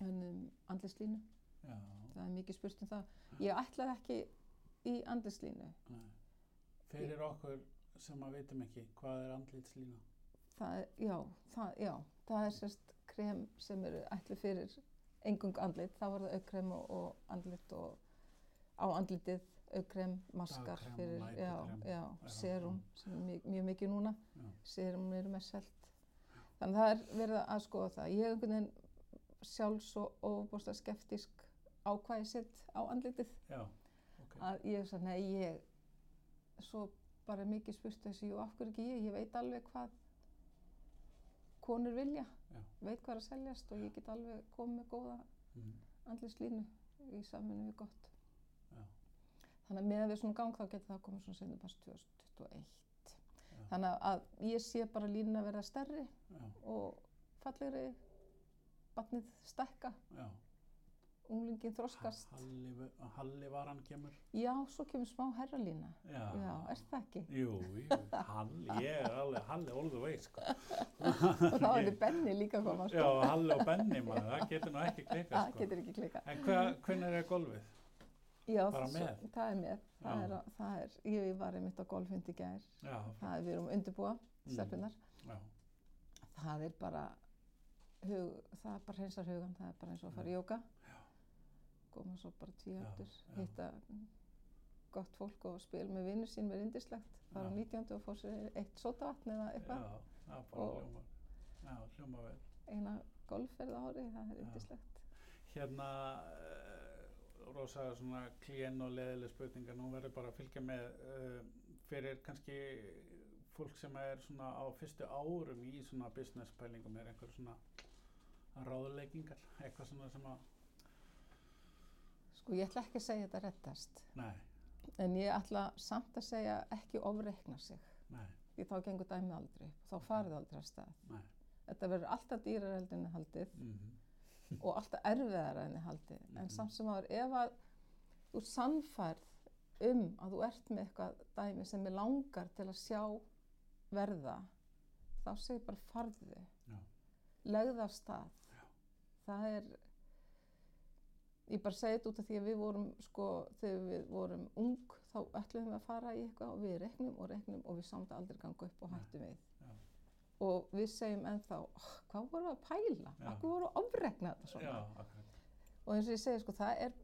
[SPEAKER 2] hennum andlislínu.
[SPEAKER 1] já,
[SPEAKER 2] Það er mikið spurt um það. Ég ætlaði ekki í andlislínu.
[SPEAKER 1] nei. Fyrir okkur sem að vitum ekki, hvað er andlitslína?
[SPEAKER 2] Það, er- já, það, já, það er sérst krem sem eru ætlu fyrir engung andlit. Það var það aukkrem og, og andlit og á andlitið aukkrem, maskar
[SPEAKER 1] Dagkrem og
[SPEAKER 2] fyrir,
[SPEAKER 1] næturkrem.
[SPEAKER 2] já,
[SPEAKER 1] Já,
[SPEAKER 2] já, serum sem er mjög, mjög mikið núna.
[SPEAKER 1] Já.
[SPEAKER 2] serum eru mest selt. Þannig að það er verið að skoða það. Ég er einhvern veginn sjálf svo ofbústa skeptisk á hvað ég set á andlitið.
[SPEAKER 1] Já, ok,
[SPEAKER 2] Að ég er svona, nei, ég, svo bara er mikið spurt þessu, jú, af hverju ekki ég? Ég veit alveg hvað konur vilja,
[SPEAKER 1] Já.
[SPEAKER 2] veit hvað er að seljast og ég get alveg komið með góða
[SPEAKER 1] mm,
[SPEAKER 2] andlislínu í saminu við gott.
[SPEAKER 1] Já.
[SPEAKER 2] Þannig að meðan við svona gang þá getur það komið svona seinni bara 2021.
[SPEAKER 1] Já.
[SPEAKER 2] Þannig að ég sé bara línuna verða stærri
[SPEAKER 1] já,
[SPEAKER 2] og fallegri barnið stækka,
[SPEAKER 1] já.
[SPEAKER 2] unglingin þroskast.
[SPEAKER 1] Halli, Halli varan kemur.
[SPEAKER 2] Já, svo kemur smá herralína.
[SPEAKER 1] Já.
[SPEAKER 2] Já, er það ekki?
[SPEAKER 1] (laughs) Jú, jú, Halli, ég er alveg Halli all the way, sko.
[SPEAKER 2] Og þá er þið Benni líka að koma,
[SPEAKER 1] Já,
[SPEAKER 2] sko.
[SPEAKER 1] Halli og Benni, maður, það getur nú ekki klikað,
[SPEAKER 2] Það
[SPEAKER 1] sko.
[SPEAKER 2] getur ekki klika.
[SPEAKER 1] En hva, hvernig er golfið?
[SPEAKER 2] Já,
[SPEAKER 1] Bara
[SPEAKER 2] svo-
[SPEAKER 1] með?
[SPEAKER 2] það er með. Það
[SPEAKER 1] Já.
[SPEAKER 2] er, að- það er, ég var einmitt á golfhundi í gær.
[SPEAKER 1] Já,
[SPEAKER 2] Það er við erum að undirbúa,
[SPEAKER 1] Mm.
[SPEAKER 2] stelpunar.
[SPEAKER 1] já,
[SPEAKER 2] Það er bara, hug, það er bara hreinsar hugan, það er bara eins og að fara í jóka. Góma svo bara tvíhjöldur,
[SPEAKER 1] já.
[SPEAKER 2] hitta gott fólk og spil með vinnur sín með indislegt. Fara á
[SPEAKER 1] Já.
[SPEAKER 2] 19. og fá sér eitt sótavatn eða
[SPEAKER 1] já,
[SPEAKER 2] eitthvað.
[SPEAKER 1] það er bara
[SPEAKER 2] Og-
[SPEAKER 1] hljóma, já, hljóma vel.
[SPEAKER 2] Eina golfferð á ári, það er
[SPEAKER 1] Já.
[SPEAKER 2] indislegt.
[SPEAKER 1] Hérna, uh, rosa svona klíen og leðileg spurningar, nú verður bara að fylgja með uh, fyrir kannski fólk sem er svona á fyrstu árum í svona business pælingum, er einhver svona ráðleggingar, eitthvað svona sem að,
[SPEAKER 2] Sko ég ætla ekki að segja þetta rettast
[SPEAKER 1] nei,
[SPEAKER 2] en ég ætla samt að segja ekki ofreikna sig
[SPEAKER 1] nei,
[SPEAKER 2] því þá gengur dæmið aldrei upp, þá farið aldrei að stað.
[SPEAKER 1] nei,
[SPEAKER 2] Þetta verður alltaf dýrar heldur en haldið
[SPEAKER 1] mhm,
[SPEAKER 2] og alltaf erfiðara enni haldið. En
[SPEAKER 1] Mhm.
[SPEAKER 2] samt sem áður, ef að þú ert sannfærð um að þú ert með eitthvað dæmi sem er langar til að sjá verða, þá segir bara farðu.
[SPEAKER 1] Já.
[SPEAKER 2] Legð af stað.
[SPEAKER 1] Já.
[SPEAKER 2] Það er, ég bara segi þetta út af því að við vorum, sko, þegar við vorum ung, þá ætluðum við að fara í eitthvað og við reknum og reknum og við samt aldrei ganga upp og
[SPEAKER 1] Nei.
[SPEAKER 2] hættum við.
[SPEAKER 1] Já.
[SPEAKER 2] Og við segjum ennþá, oh, hvað vorum við að pæla?
[SPEAKER 1] Já.
[SPEAKER 2] Akkur vorum við að ofregna þetta svona?
[SPEAKER 1] já, akkurat,
[SPEAKER 2] og eins og ég segi sko það er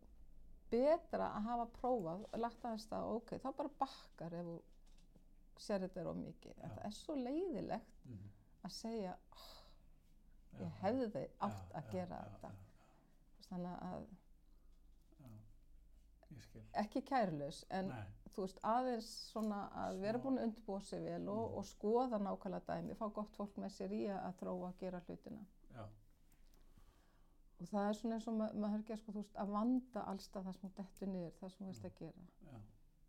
[SPEAKER 2] betra að hafa prófað lagt aðeins það ok, þá bara bakkar ef þú sér þetta er of mikið en
[SPEAKER 1] Já.
[SPEAKER 2] það er svo leiðilegt
[SPEAKER 1] mhm,
[SPEAKER 2] að segja
[SPEAKER 1] já,
[SPEAKER 2] ég hefði þau
[SPEAKER 1] já,
[SPEAKER 2] átt að
[SPEAKER 1] já,
[SPEAKER 2] gera
[SPEAKER 1] já,
[SPEAKER 2] þetta
[SPEAKER 1] já,
[SPEAKER 2] þannig að
[SPEAKER 1] Ég skil,
[SPEAKER 2] ekki kærlaus en
[SPEAKER 1] nei,
[SPEAKER 2] þú veist aðeins svona að vera
[SPEAKER 1] Smá.
[SPEAKER 2] búin að undbúa sig vel og,
[SPEAKER 1] Mhm.
[SPEAKER 2] og skoða nákvæmlega dæmi fá gott fólk með sér í að- að þróa að gera hlutina
[SPEAKER 1] já,
[SPEAKER 2] og það er svona eins og ma maður hörgja sko þú veist að vanda allstað það sem hún dettur niður það sem hún
[SPEAKER 1] Mm.
[SPEAKER 2] veist að gera
[SPEAKER 1] já,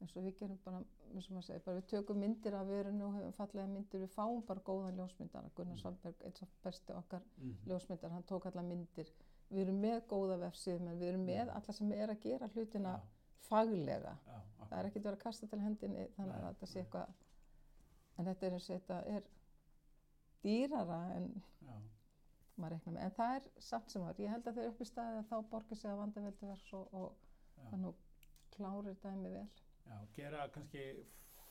[SPEAKER 2] eins og við gerum bara, eins og maður segir, bara við tökum myndir af verinu og höfum fallega myndir, við fáum bara góðan ljósmyndar. Gunnar
[SPEAKER 1] Mm.
[SPEAKER 2] Svanberg, eins og besti okkar
[SPEAKER 1] mhm,
[SPEAKER 2] ljósmyndar, hann tók alla myndir. Við erum með góða vefsíðum en við erum með
[SPEAKER 1] Mm.
[SPEAKER 2] alla sem er að gera hlutina
[SPEAKER 1] já,
[SPEAKER 2] faglega.
[SPEAKER 1] já,
[SPEAKER 2] Það er
[SPEAKER 1] akkurat,
[SPEAKER 2] ekkert verið að kasta til hendinni þannig
[SPEAKER 1] Nei,
[SPEAKER 2] að þetta sé
[SPEAKER 1] nei.
[SPEAKER 2] eitthvað, en þetta er eins og þetta er dýrara en
[SPEAKER 1] já,
[SPEAKER 2] maður reiknar með. En það er samt sem var, ég held að þeir upp í staðið að þá borgir sig að vanda vel til verks og, og
[SPEAKER 1] Já.
[SPEAKER 2] þannig að klárir dæmi vel.
[SPEAKER 1] já, gera kannski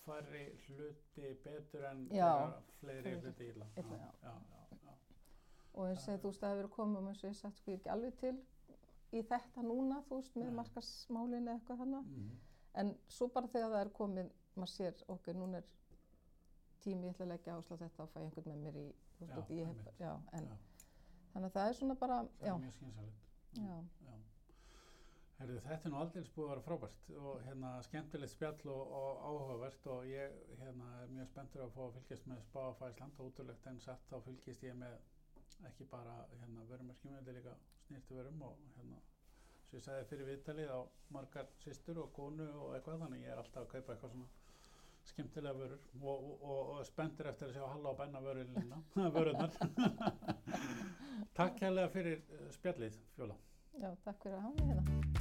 [SPEAKER 1] færri hluti betur en
[SPEAKER 2] Já,
[SPEAKER 1] gera fleiri
[SPEAKER 2] fleiri
[SPEAKER 1] hluti illa,
[SPEAKER 2] illa,
[SPEAKER 1] já,
[SPEAKER 2] já.
[SPEAKER 1] já, já, já,
[SPEAKER 2] og eins
[SPEAKER 1] Það
[SPEAKER 2] og þú veist að það hefur verið komið um eins og ég sagt sko ég er ekki alveg til í þetta núna þú veist með
[SPEAKER 1] Nei.
[SPEAKER 2] markasmálinu eða eitthvað þannig
[SPEAKER 1] mhm,
[SPEAKER 2] en svo bara þegar það er komið maður sér ok, núna er tími ég ætla að leggja áslag þetta og fæ einhvern með mér í þú
[SPEAKER 1] Já,
[SPEAKER 2] veist, já, ég hef,
[SPEAKER 1] einmitt.
[SPEAKER 2] já, en,
[SPEAKER 1] Já.
[SPEAKER 2] þannig að það er svona bara
[SPEAKER 1] það
[SPEAKER 2] já,
[SPEAKER 1] er mjög skynsalegt.
[SPEAKER 2] já,
[SPEAKER 1] Já. Herðu, þetta er nú aldrei búið að vera frábært og hérna skemmtilegt spjall og, og áhugavert og ég hérna er mjög spenntur að fá að fylgjast með Spáfa Ísland og útulegt en satt þá fylgjast ég með ekki bara hérna vörumerkjum heldur líka snýrtu vörum og hérna sem ég sagði fyrir viðtalið á margar systur og konu og eitthvað þannig ég er alltaf að kaupa eitthvað svona skemmtilega vörur og, og, og, og spenntur eftir að sjá Halla og Benna vörulina, (laughs) vörunar Takk hérlega fyrir eh, spjallið, Fjóla
[SPEAKER 2] já, takk fyrir að hafa mig hérna